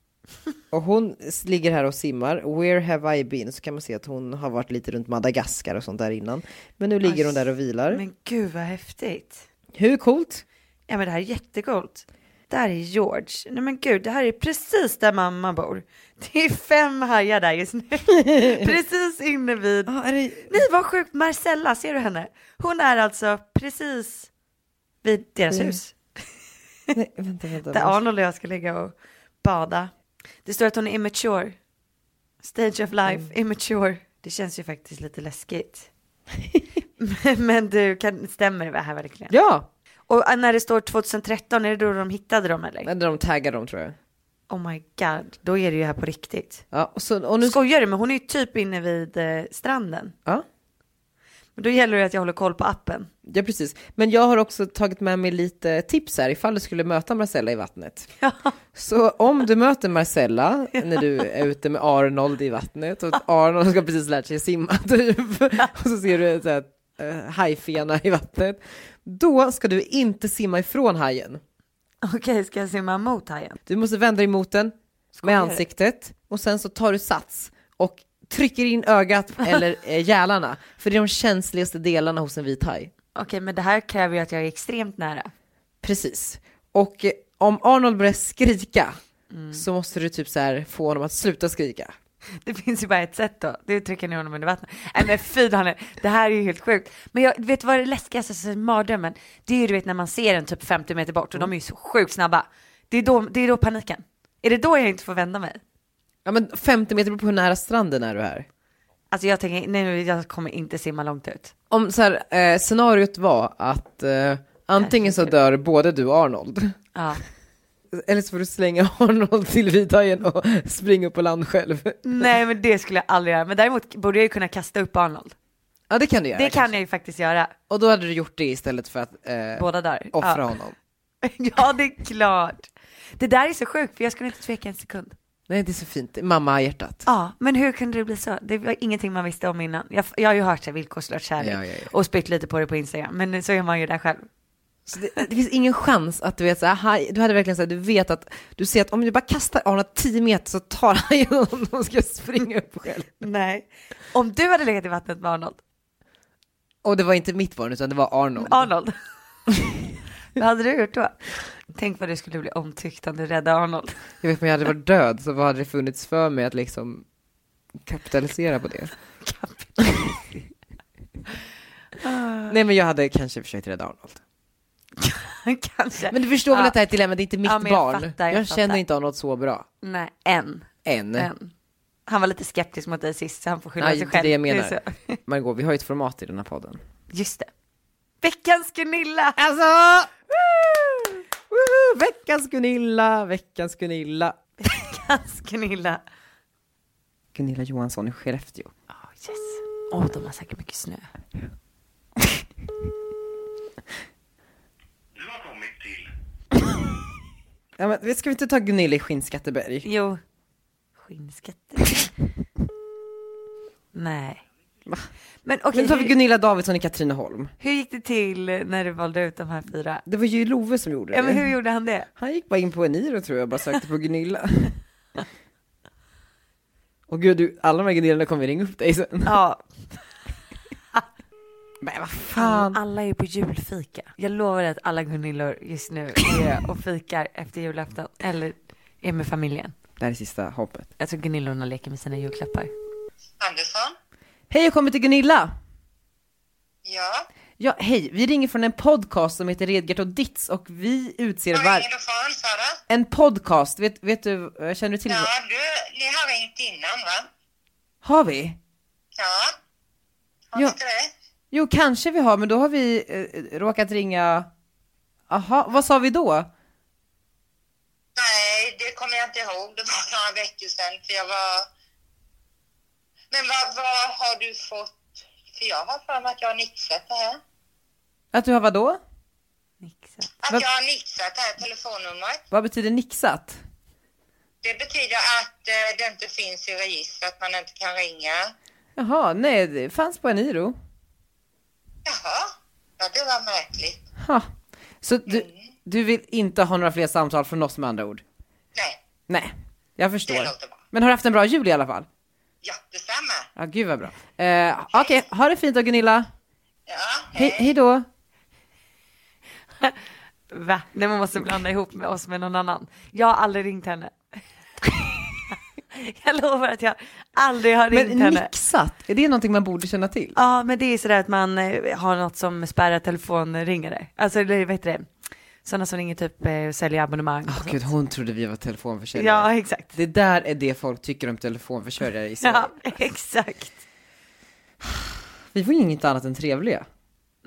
Speaker 1: Och hon s- ligger här och simmar. Where have I been? Så kan man se att hon har varit lite runt Madagaskar och sånt där innan. Men nu ligger hon där och vilar.
Speaker 4: Men gud vad häftigt.
Speaker 1: Hur coolt?
Speaker 4: Ja men det här är jättecoolt. Där är George. Nej men gud, det här är precis där mamma bor. Det är fem hajar där just nu. precis inne vid. Nej vad sjukt, Marcella, ser du henne? Hon är alltså precis vid deras
Speaker 1: Mm.
Speaker 4: hus.
Speaker 1: Nej, vänta, vänta.
Speaker 4: Där Arnold och jag ska ligga och bada. Det står att hon är immature. Stage of life, immature. Mm. Det känns ju faktiskt lite läskigt. Men- Men du, kan, stämmer det här verkligen?
Speaker 1: Ja,
Speaker 4: Och eh, när det står 2013, är det då de hittade dem eller?
Speaker 1: eller de taggar dem tror jag.
Speaker 4: Oh my god, då är det ju här på riktigt.
Speaker 1: Ja, och så, och nu...
Speaker 4: Skojar du? Men hon är ju typ inne vid eh, stranden.
Speaker 1: Ja.
Speaker 4: Men då gäller det att jag håller koll på appen.
Speaker 1: Ja precis, men jag har också tagit med mig lite tips här ifall du skulle möta Marcella i vattnet. Så om du möter Marcella när du är ute med Arnold i vattnet och Arnold ska precis lärt sig simma typ och så ser du en sån här, eh, hajfena i vattnet. Då ska du inte simma ifrån hajen.
Speaker 4: Okej, ska jag simma mot hajen?
Speaker 1: Du måste vända dig mot den med
Speaker 4: du?
Speaker 1: ansiktet och sen så tar du sats och trycker in ögat eller eh, gälarna för det är de känsligaste delarna hos en vit haj.
Speaker 4: Okej, men det här kräver ju att jag är extremt nära.
Speaker 1: Precis. Och eh, om Arnold börjar skrika så måste du typ så här få honom att sluta skrika.
Speaker 4: Det finns ju bara ett sätt då, det är att trycka ner honom under vattnet. Nej men fy Danne, det här är ju helt sjukt. Men jag vet vad det läskigaste som mardrömmen, det är ju du vet när man ser den typ 50 meter bort och de är ju så sjukt snabba. Det är, då, det är då paniken. Är det då jag inte får vända mig?
Speaker 1: Ja men 50 meter beror på hur nära stranden är du här.
Speaker 4: Alltså jag tänker, nej jag kommer inte simma långt ut.
Speaker 1: Om så här, eh, scenariot var att eh, antingen så dör både du och Arnold.
Speaker 4: Ja.
Speaker 1: Eller så får du slänga Arnold till vithajen och springa upp på land själv.
Speaker 4: Nej men det skulle jag aldrig göra, men däremot borde jag ju kunna kasta upp Arnold.
Speaker 1: Ja det kan du göra.
Speaker 4: Det kan jag ju faktiskt göra,
Speaker 1: Och då hade du gjort det istället för att eh,
Speaker 4: båda där.
Speaker 1: offra
Speaker 4: ja.
Speaker 1: honom.
Speaker 4: ja det är klart. Det där är så sjukt för jag skulle inte tveka en sekund.
Speaker 1: Nej det är så fint, mamma hjärtat.
Speaker 4: Ja, men hur kunde det bli så? Det var ingenting man visste om innan. Jag, jag har ju hört så här villkorslös kärlek
Speaker 1: Ja, ja, ja.
Speaker 4: och spytt lite på det på Instagram, men så gör man ju det själv.
Speaker 1: Så det, det finns ingen chans att du vet så här, haj- du hade verkligen så här, du vet att, du ser att om du bara kastar Arnold 10 meter så tar han ju honom och ska springa upp själv.
Speaker 4: Nej. Om du hade legat i vattnet med Arnold,
Speaker 1: Och det var inte mitt barn utan det var Arnold.
Speaker 4: Arnold, vad hade du gjort då? Tänk vad du skulle bli omtyckt om du räddade Arnold.
Speaker 1: Jag vet om jag hade varit död så vad hade det funnits för mig att liksom kapitalisera på det? Nej men jag hade kanske försökt rädda Arnold.
Speaker 4: Kanske.
Speaker 1: Men du förstår väl
Speaker 4: Ja.
Speaker 1: att det här dilemmat, det är inte mitt
Speaker 4: Ja, men jag
Speaker 1: barn.
Speaker 4: fattar, jag
Speaker 1: jag känner
Speaker 4: fattar.
Speaker 1: inte Arnold så bra.
Speaker 4: Nej, en.
Speaker 1: Än.
Speaker 4: en. Han var lite skeptisk mot dig sist, så han får skylla
Speaker 1: Nej,
Speaker 4: sig
Speaker 1: det är
Speaker 4: själv.
Speaker 1: det jag menar.
Speaker 4: så.
Speaker 1: Margot, vi har ju ett format i den här podden.
Speaker 4: Just det. Veckans Gunilla!
Speaker 1: Alltså! Woho! Veckans Gunilla, veckans Gunilla.
Speaker 4: Veckans Gunilla.
Speaker 1: Gunilla Johansson i Skellefteå.
Speaker 4: Oh, yes. Åh, de har säkert mycket snö.
Speaker 5: Du har kommit till
Speaker 6: Ja, men, ska vi inte ta Gunilla i Skinnskatteberg?
Speaker 4: Jo. Skinnskatter. Nej. Men okej,
Speaker 6: Men då tar vi
Speaker 4: hur,
Speaker 6: Gunilla Davidsson i Katrineholm.
Speaker 4: hur gick det till när du valde ut de här fyra?
Speaker 6: Det var ju Love som gjorde
Speaker 4: Ja men
Speaker 6: det.
Speaker 4: hur gjorde han det?
Speaker 6: Han gick bara in på Eniro tror jag och bara sökte på Gunilla. Och gud, du, alla de här Gunillorna kommer ringa upp dig sen.
Speaker 4: Ja,
Speaker 6: Men vad fan.
Speaker 4: alla är på julfika. Jag lovar att alla Gunillor just nu är och fikar efter julafton eller är med familjen.
Speaker 6: Det här är sista hoppet.
Speaker 4: Jag tror Gunillorna leker med sina julklappar.
Speaker 5: Andersson?
Speaker 6: Hej, jag kommer till Gunilla.
Speaker 5: Ja?
Speaker 6: Ja, hej, vi ringer från en podcast som heter Redgert och Ditz och vi utser
Speaker 5: Vad
Speaker 6: var...
Speaker 5: ringer du från, Sara?
Speaker 6: En podcast, vet, vet du, eh, känner du till
Speaker 5: Ja,
Speaker 6: vad-
Speaker 5: du, ni har ringt innan, va?
Speaker 6: Har vi?
Speaker 5: Ja. Har
Speaker 6: Ja.
Speaker 5: ni inte det?
Speaker 6: Jo, kanske vi har, men då har vi eh, råkat ringa... Aha, vad sa vi då?
Speaker 5: Nej, det kommer jag inte ihåg. Det var några veckor sedan, för jag var... Men vad, vad har du fått? För jag har för mig att jag har nixat det här.
Speaker 6: Att du har vadå?
Speaker 4: Nixa.
Speaker 5: Att
Speaker 6: Vad-
Speaker 5: jag har nixat det här telefonnumret.
Speaker 6: Vad betyder nixat?
Speaker 5: Det betyder att eh, det inte finns i registret, att man inte kan ringa.
Speaker 6: Jaha, nej, det fanns på Eniro.
Speaker 5: Jaha, ja, det var märkligt.
Speaker 6: Ha. Så du,
Speaker 5: Mm.
Speaker 6: du vill inte ha några fler samtal från oss med andra ord?
Speaker 5: Nej,
Speaker 6: Nej, jag
Speaker 5: det
Speaker 6: förstår.
Speaker 5: låter bra.
Speaker 6: Men har du haft en bra jul i alla fall?
Speaker 5: Ja, detsamma.
Speaker 6: Ja, gud vad bra. Eh, Okej, ha det fint då Gunilla.
Speaker 5: Ja,
Speaker 6: Hej, hej då.
Speaker 4: Va? Nej man måste blanda ihop med oss med någon annan. Jag har aldrig ringt henne. jag lovar att jag aldrig har ringt
Speaker 6: Men
Speaker 4: henne.
Speaker 6: nixat, är det någonting man borde känna till?
Speaker 4: Ja, men det är sådär att man eh, har något som spärrar telefonringare. Alltså, eller vad heter det? Sådana som ringer typ eh, säljer abonnemang. och
Speaker 6: Åh
Speaker 4: sånt.
Speaker 6: Ah, gud, hon trodde vi var telefonförsäljare.
Speaker 4: ja, exakt.
Speaker 6: Det där är det folk tycker om telefonförsäljare i Sverige.
Speaker 4: Ja, exakt.
Speaker 6: Vi var ju inget annat än trevliga.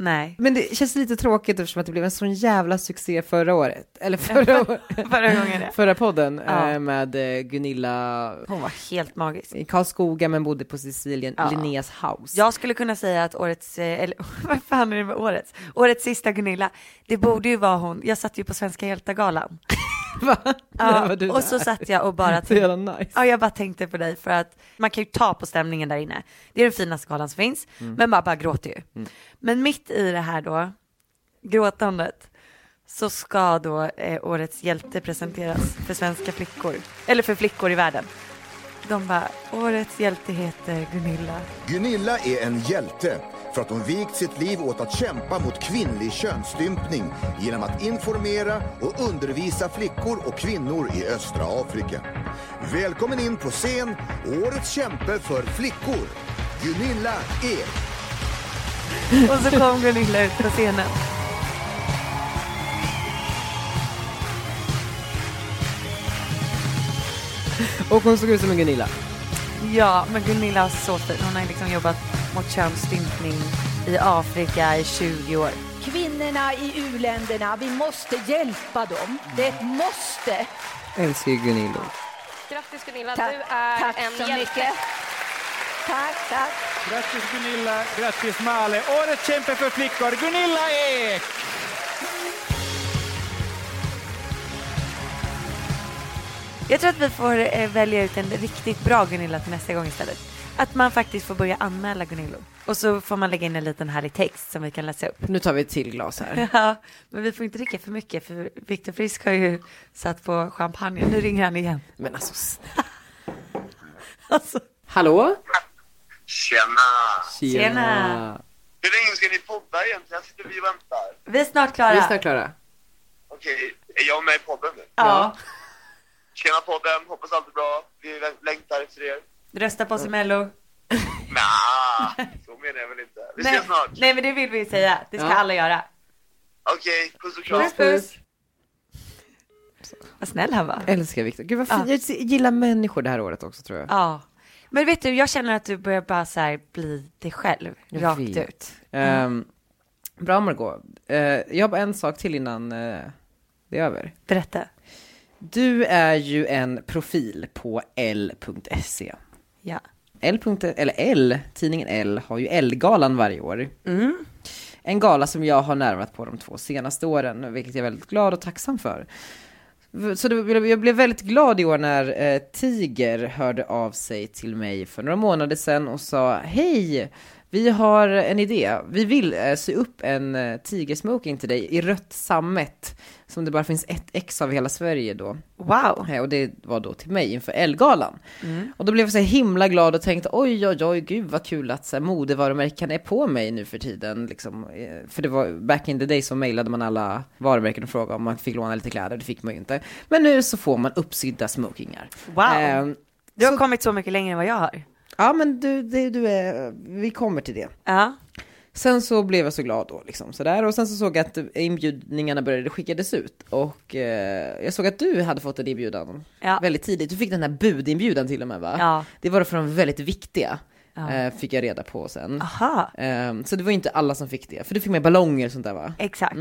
Speaker 4: Nej,
Speaker 6: Men det känns lite tråkigt eftersom att det blev en sån jävla succé förra året. Eller förra, året-
Speaker 4: förra gången det.
Speaker 6: förra podden
Speaker 4: Ja.
Speaker 6: eh, med eh, Gunilla
Speaker 4: Hon var helt magisk.
Speaker 6: i Karlskoga men bodde på Sicilien,
Speaker 4: Ja.
Speaker 6: Linneas house.
Speaker 4: Jag skulle kunna säga att årets, eh, eller vad fan är det med årets? Årets sista Gunilla, det borde ju vara hon, jag satt ju på Svenska hjältar-galan.
Speaker 6: Va?
Speaker 4: Ja,
Speaker 6: Var du
Speaker 4: och så
Speaker 6: där?
Speaker 4: satt jag och bara
Speaker 6: Så
Speaker 4: tänkte,
Speaker 6: jävla nice.
Speaker 4: Ja, jag bara tänkte på dig för att man kan ju ta på stämningen där inne. Det är den finaste galan som finns, men man bara gråter ju. Men mitt i det här då, gråtandet, så ska då eh, årets hjälte presenteras för svenska flickor, eller för flickor i världen. De bara, årets hjälte heter Gunilla.
Speaker 9: Gunilla är en hjälte för att hon vikt sitt liv åt att kämpa mot kvinnlig könsstympning genom att informera och undervisa flickor och kvinnor i östra Afrika. Välkommen in på scen, årets kämpe för flickor, Gunilla Ek.
Speaker 4: Och så kom Gunilla ut på scenen.
Speaker 6: Och hon såg ut som en Gunilla.
Speaker 4: Ja, men Gunilla är så fin. Hon har ju liksom jobbat mot könsstympning i Afrika i 20 år.
Speaker 10: Kvinnorna i u-länderna, vi måste hjälpa dem. Det är ett måste.
Speaker 6: Älskar ju Gunilla.
Speaker 11: Grattis Gunilla,
Speaker 10: Tack,
Speaker 11: du är
Speaker 10: tack
Speaker 11: en
Speaker 10: så
Speaker 11: hjälte.
Speaker 10: mycket. Tack, tack.
Speaker 12: Grattis Gunilla, grattis Male. Årets kämpe för flickor, Gunilla Ek!
Speaker 4: Jag tror att vi får eh, välja ut en riktigt bra Gunilla till nästa gång istället. Att man faktiskt får börja anmäla Gunillor. Och så får man lägga in en liten härlig text som vi kan läsa upp.
Speaker 6: Nu tar vi ett till glas här.
Speaker 4: Ja, men vi får inte dricka för mycket för Viktor Frisk har ju satt på champagne. Nu ringer han igen.
Speaker 6: Men alltså snälla.
Speaker 4: Alltså,
Speaker 6: Hallå?
Speaker 5: Tjena!
Speaker 6: Tjena.
Speaker 4: Tjena.
Speaker 5: Hur länge ska ni podda egentligen? Sitter vi och väntar.
Speaker 4: vi är snart
Speaker 6: Vi
Speaker 4: klara.
Speaker 6: är snart klara.
Speaker 5: Okej, är jag med i podden nu?
Speaker 4: Ja.
Speaker 5: Tjena podden, hoppas allt är bra. Vi lä- längtar efter er.
Speaker 4: Rösta på oss i Mello.
Speaker 5: Nja, så menar jag väl inte. Vi
Speaker 4: Nej,
Speaker 5: ses snart.
Speaker 4: nej, men det vill vi ju säga. Det ska
Speaker 6: Ja.
Speaker 4: alla göra.
Speaker 5: Okej, puss och kram.
Speaker 4: puss. Vad snäll han var.
Speaker 6: Älskar Viktor. Gud vad fint.
Speaker 4: Ja.
Speaker 6: Jag gillar människor det här året också tror jag.
Speaker 4: Ja. Men vet du, jag känner att du börjar bara så här bli dig själv.
Speaker 6: Jag
Speaker 4: rakt
Speaker 6: vet.
Speaker 4: ut.
Speaker 6: Ehm, bra Margot. Eh, jag har bara en sak till innan eh, det är över.
Speaker 4: Berätta.
Speaker 6: Du är ju en profil på L.se.
Speaker 4: Ja.
Speaker 6: E. L. eller L, tidningen L har ju L-galan varje år.
Speaker 4: Mm.
Speaker 6: En gala som jag har närmat på de två senaste åren, vilket jag är väldigt glad och tacksam för. V- Så det, blev- jag blev väldigt glad i år när eh, Tiger hörde av sig till mig för några månader sedan och sa Hej! Vi har en idé. Vi vill eh, sy upp en eh, tigersmoking till dig i rött sammet som det bara finns ett ex av i hela Sverige då.
Speaker 4: Wow!
Speaker 6: Eh, och det var då till mig inför Elgalan. Och då blev jag så här himla glad och tänkte oj, oj, oj, gud vad kul att så här, modevarumärken är på mig nu för tiden. Liksom. Eh, För det var back in the day så mejlade man alla varumärken och frågade om man fick låna lite kläder, det fick man ju inte. Men nu så får man uppsydda smokingar.
Speaker 4: Wow.
Speaker 6: Ehm,
Speaker 4: Du har kommit så mycket längre än vad jag har.
Speaker 6: ja, men du, det, du är, vi kommer till det.
Speaker 4: Ja.
Speaker 6: Sen så blev jag så glad då, liksom sådär. Och sen så såg jag att inbjudningarna började skickades ut. Och eh, jag såg att du hade fått en inbjudan
Speaker 4: Ja.
Speaker 6: väldigt tidigt. Du fick den här budinbjudan till och med va?
Speaker 4: Ja.
Speaker 6: Det var från väldigt viktiga,
Speaker 4: Ja.
Speaker 6: eh, fick jag reda på sen.
Speaker 4: Aha.
Speaker 6: Eh, så det var ju inte alla som fick det, för du fick med ballonger och sånt där va?
Speaker 4: Exakt.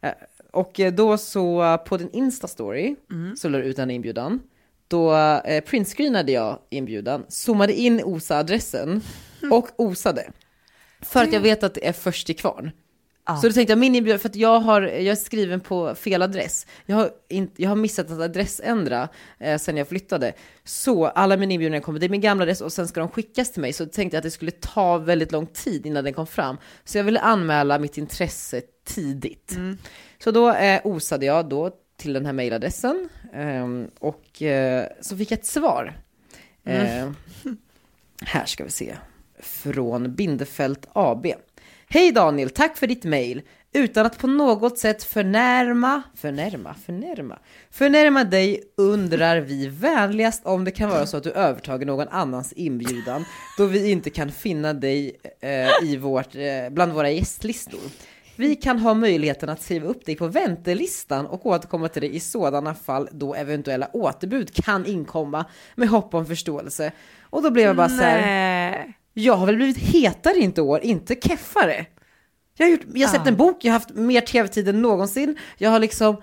Speaker 6: Eh, och eh, då så eh, på din Insta-story så la du ut den här inbjudan. Då eh, printscreenade jag inbjudan, zoomade in OSA-adressen och osade. För att jag vet att det är först till kvarn. Så då tänkte jag, min inbjudan, för att jag, har, jag är skriven på fel adress. Jag har, in, jag har missat att adressändra eh, sen jag flyttade. Så alla mina inbjudningar kommer, det är min gamla adress och sen ska de skickas till mig. Så tänkte jag att det skulle ta väldigt lång tid innan den kom fram. Så jag ville anmäla mitt intresse tidigt. Så då eh, osade jag då till den här mejladressen ehm, och eh, så fick jag ett svar. Eh, här ska vi se. Från Bindefält AB. Hej Daniel, tack för ditt mejl. Utan att på något sätt förnärma, förnärma, förnärma, förnärma dig undrar vi vänligast om det kan vara så att du övertagit någon annans inbjudan då vi inte kan finna dig eh, i vårt, eh, bland våra gästlistor. Vi kan ha möjligheten att skriva upp dig på väntelistan och återkomma till dig i sådana fall då eventuella återbud kan inkomma med hopp om förståelse. Och då blev jag bara så här,
Speaker 4: Nej.
Speaker 6: jag har väl blivit hetare inte år, inte keffare. Jag har, gjort, jag har släppt en bok, jag har haft mer tv-tid än någonsin. Jag har liksom,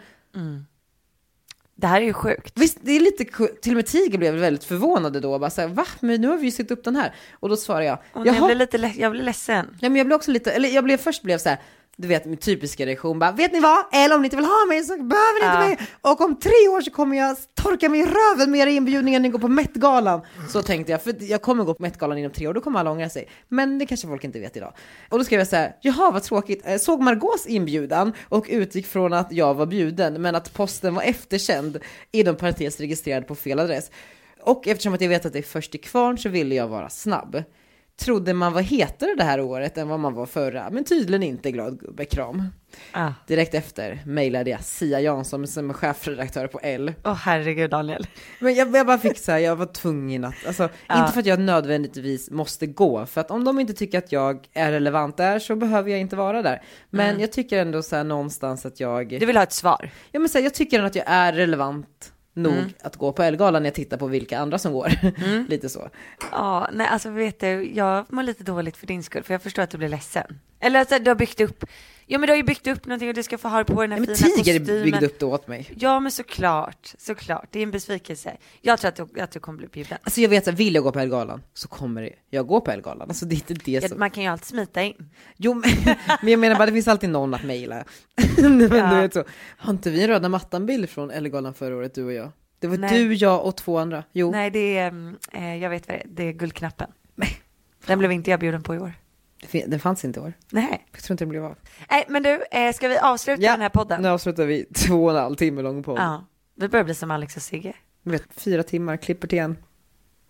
Speaker 4: Det här är ju sjukt.
Speaker 6: visst det är lite ku- till och med Tiger blev väldigt förvånade då. Bara så här, va? Men nu har vi ju sett upp den här. Och då svarar jag,
Speaker 4: Åh, nej,
Speaker 6: jaha.
Speaker 4: jag, blir lite le- jag blir ledsen.
Speaker 6: Nej men jag blev också lite, eller jag blev först blev så här, du vet min typiska reaktion bara, vet ni vad? Eller om ni inte vill ha mig så behöver ni
Speaker 4: Ja.
Speaker 6: inte mig. Och om tre år så kommer jag torka mig i röven med era inbjudningar när ni går på Met-galan. Så tänkte jag, för jag kommer gå på Met-galan inom tre år, då kommer alla ångra sig. Men det kanske folk inte vet idag. Och då skrev jag så här, jaha vad tråkigt, Eh, såg Margaux inbjudan och utgick från att jag var bjuden, men att posten var efterkänd, inom parentes registrerad på fel adress. Och eftersom att jag vet att det är först i kvarn så ville jag vara snabb. Trodde man var hetare det här året än vad man var förra, men tydligen inte glad gubbe, kram.
Speaker 4: Åh ah.
Speaker 6: Direkt efter mejlade jag Sia Jansson som är chefredaktör på L.
Speaker 4: Åh, herregud Daniel.
Speaker 6: Men jag, jag bara fick så här, jag var tvungen att, alltså, inte för att jag nödvändigtvis måste gå, för att om de inte tycker att jag är relevant där så behöver jag inte vara där. Men jag tycker ändå så här någonstans att jag...
Speaker 4: Du vill ha ett svar?
Speaker 6: Ja, men så här, jag tycker ändå att jag är relevant nog
Speaker 4: Mm.
Speaker 6: att gå på Elgalan när jag tittar på vilka andra som går. Lite så.
Speaker 4: Ja, nej alltså vet du, jag mår lite dåligt för din skull för jag förstår att du blir ledsen. Eller att du har byggt upp, ja men du har ju byggt upp någonting och du ska få ha det på den här
Speaker 6: Nej, men
Speaker 4: fina
Speaker 6: Tiger
Speaker 4: kostymen.
Speaker 6: byggde upp det åt mig.
Speaker 4: Ja men såklart, såklart. Det är en besvikelse. Jag tror att du, att du kommer bli bjuden.
Speaker 6: Alltså jag vet att vill jag gå på Elgalan så kommer jag gå på Elgalan. Alltså det är inte det
Speaker 4: Ja,
Speaker 6: som...
Speaker 4: man kan ju alltid smita in.
Speaker 6: Jo men, men jag menar bara det finns alltid någon att mejla. men
Speaker 4: Ja.
Speaker 6: du vet så. Har inte vi en röda mattan-bild från Elgalan förra året du och jag? Det var
Speaker 4: Nej.
Speaker 6: du, jag och två andra. Jo.
Speaker 4: Nej det är, mm, eh, jag vet vad det är, det är guldknappen. Den blev inte jag bjuden på i år.
Speaker 6: Det fin- Den fanns inte i år.
Speaker 4: Nej.
Speaker 6: Jag tror inte det blev av.
Speaker 4: Nej men du, eh, ska vi avsluta den här podden?
Speaker 6: Nu avslutar vi två och en halv timme lång podd.
Speaker 4: Ja. Vi börjar bli som Alex och Sigge.
Speaker 6: Ni Vet, fyra timmar, klipper till en.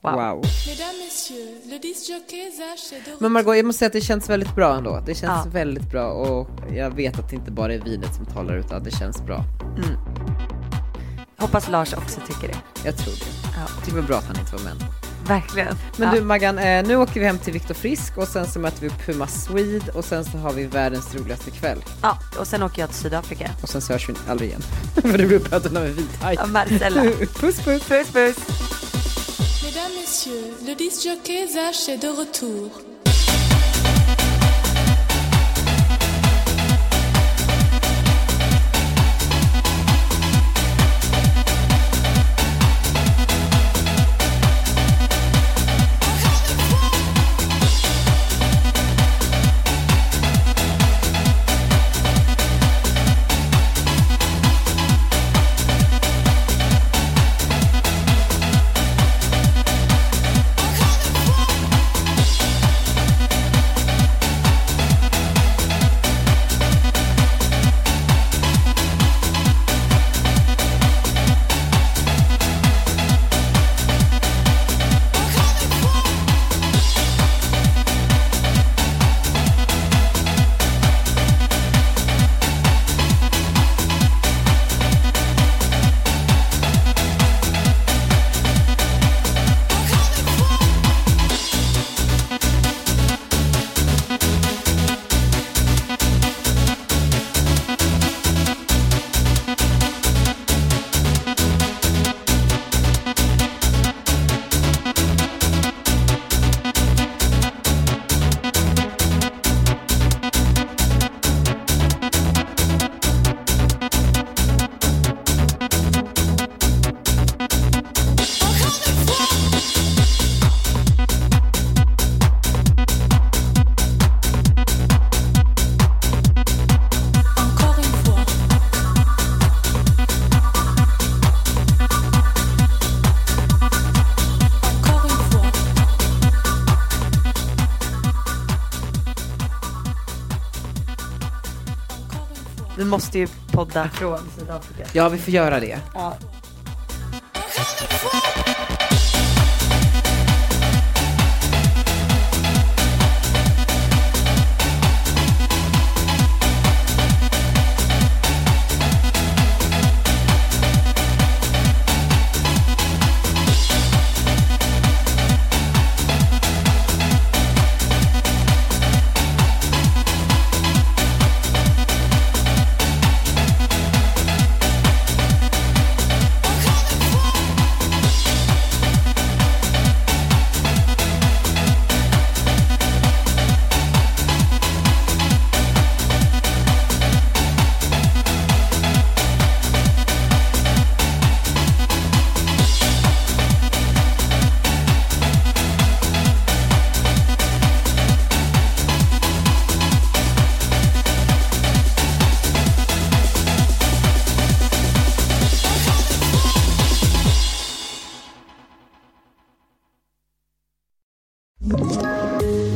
Speaker 6: Wow.
Speaker 13: Mesdames, messieurs, le disjockey Zach est de
Speaker 6: Men Margot, jag måste säga att det känns väldigt bra ändå. Det känns
Speaker 13: Ja.
Speaker 6: väldigt bra och jag vet att det inte bara är vinet som talar utan att det känns bra.
Speaker 4: Mm. Hoppas Lars också tycker det.
Speaker 6: Jag tror det. Det var bra att han inte var med ändå.
Speaker 4: Verkligen.
Speaker 6: Men
Speaker 4: Ja.
Speaker 6: du Maggan, eh, nu åker vi hem till Viktor Frisk och sen så möter vi Puma Swede och sen så har vi världens roligaste kväll.
Speaker 4: Ja, och sen åker jag till Sydafrika.
Speaker 6: Och sen så hörs vi aldrig igen. För det blir uppäten av en vit haj.
Speaker 4: Ja, Marcella.
Speaker 6: puss puss.
Speaker 4: Puss puss.
Speaker 13: Mesdames, messieurs, le disjockey Zach est de retour.
Speaker 4: måste ju podda från Sydafrika.
Speaker 6: Ja, vi får göra det.
Speaker 4: Ja.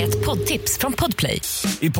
Speaker 14: Ett poddtips från Podplay.
Speaker 9: I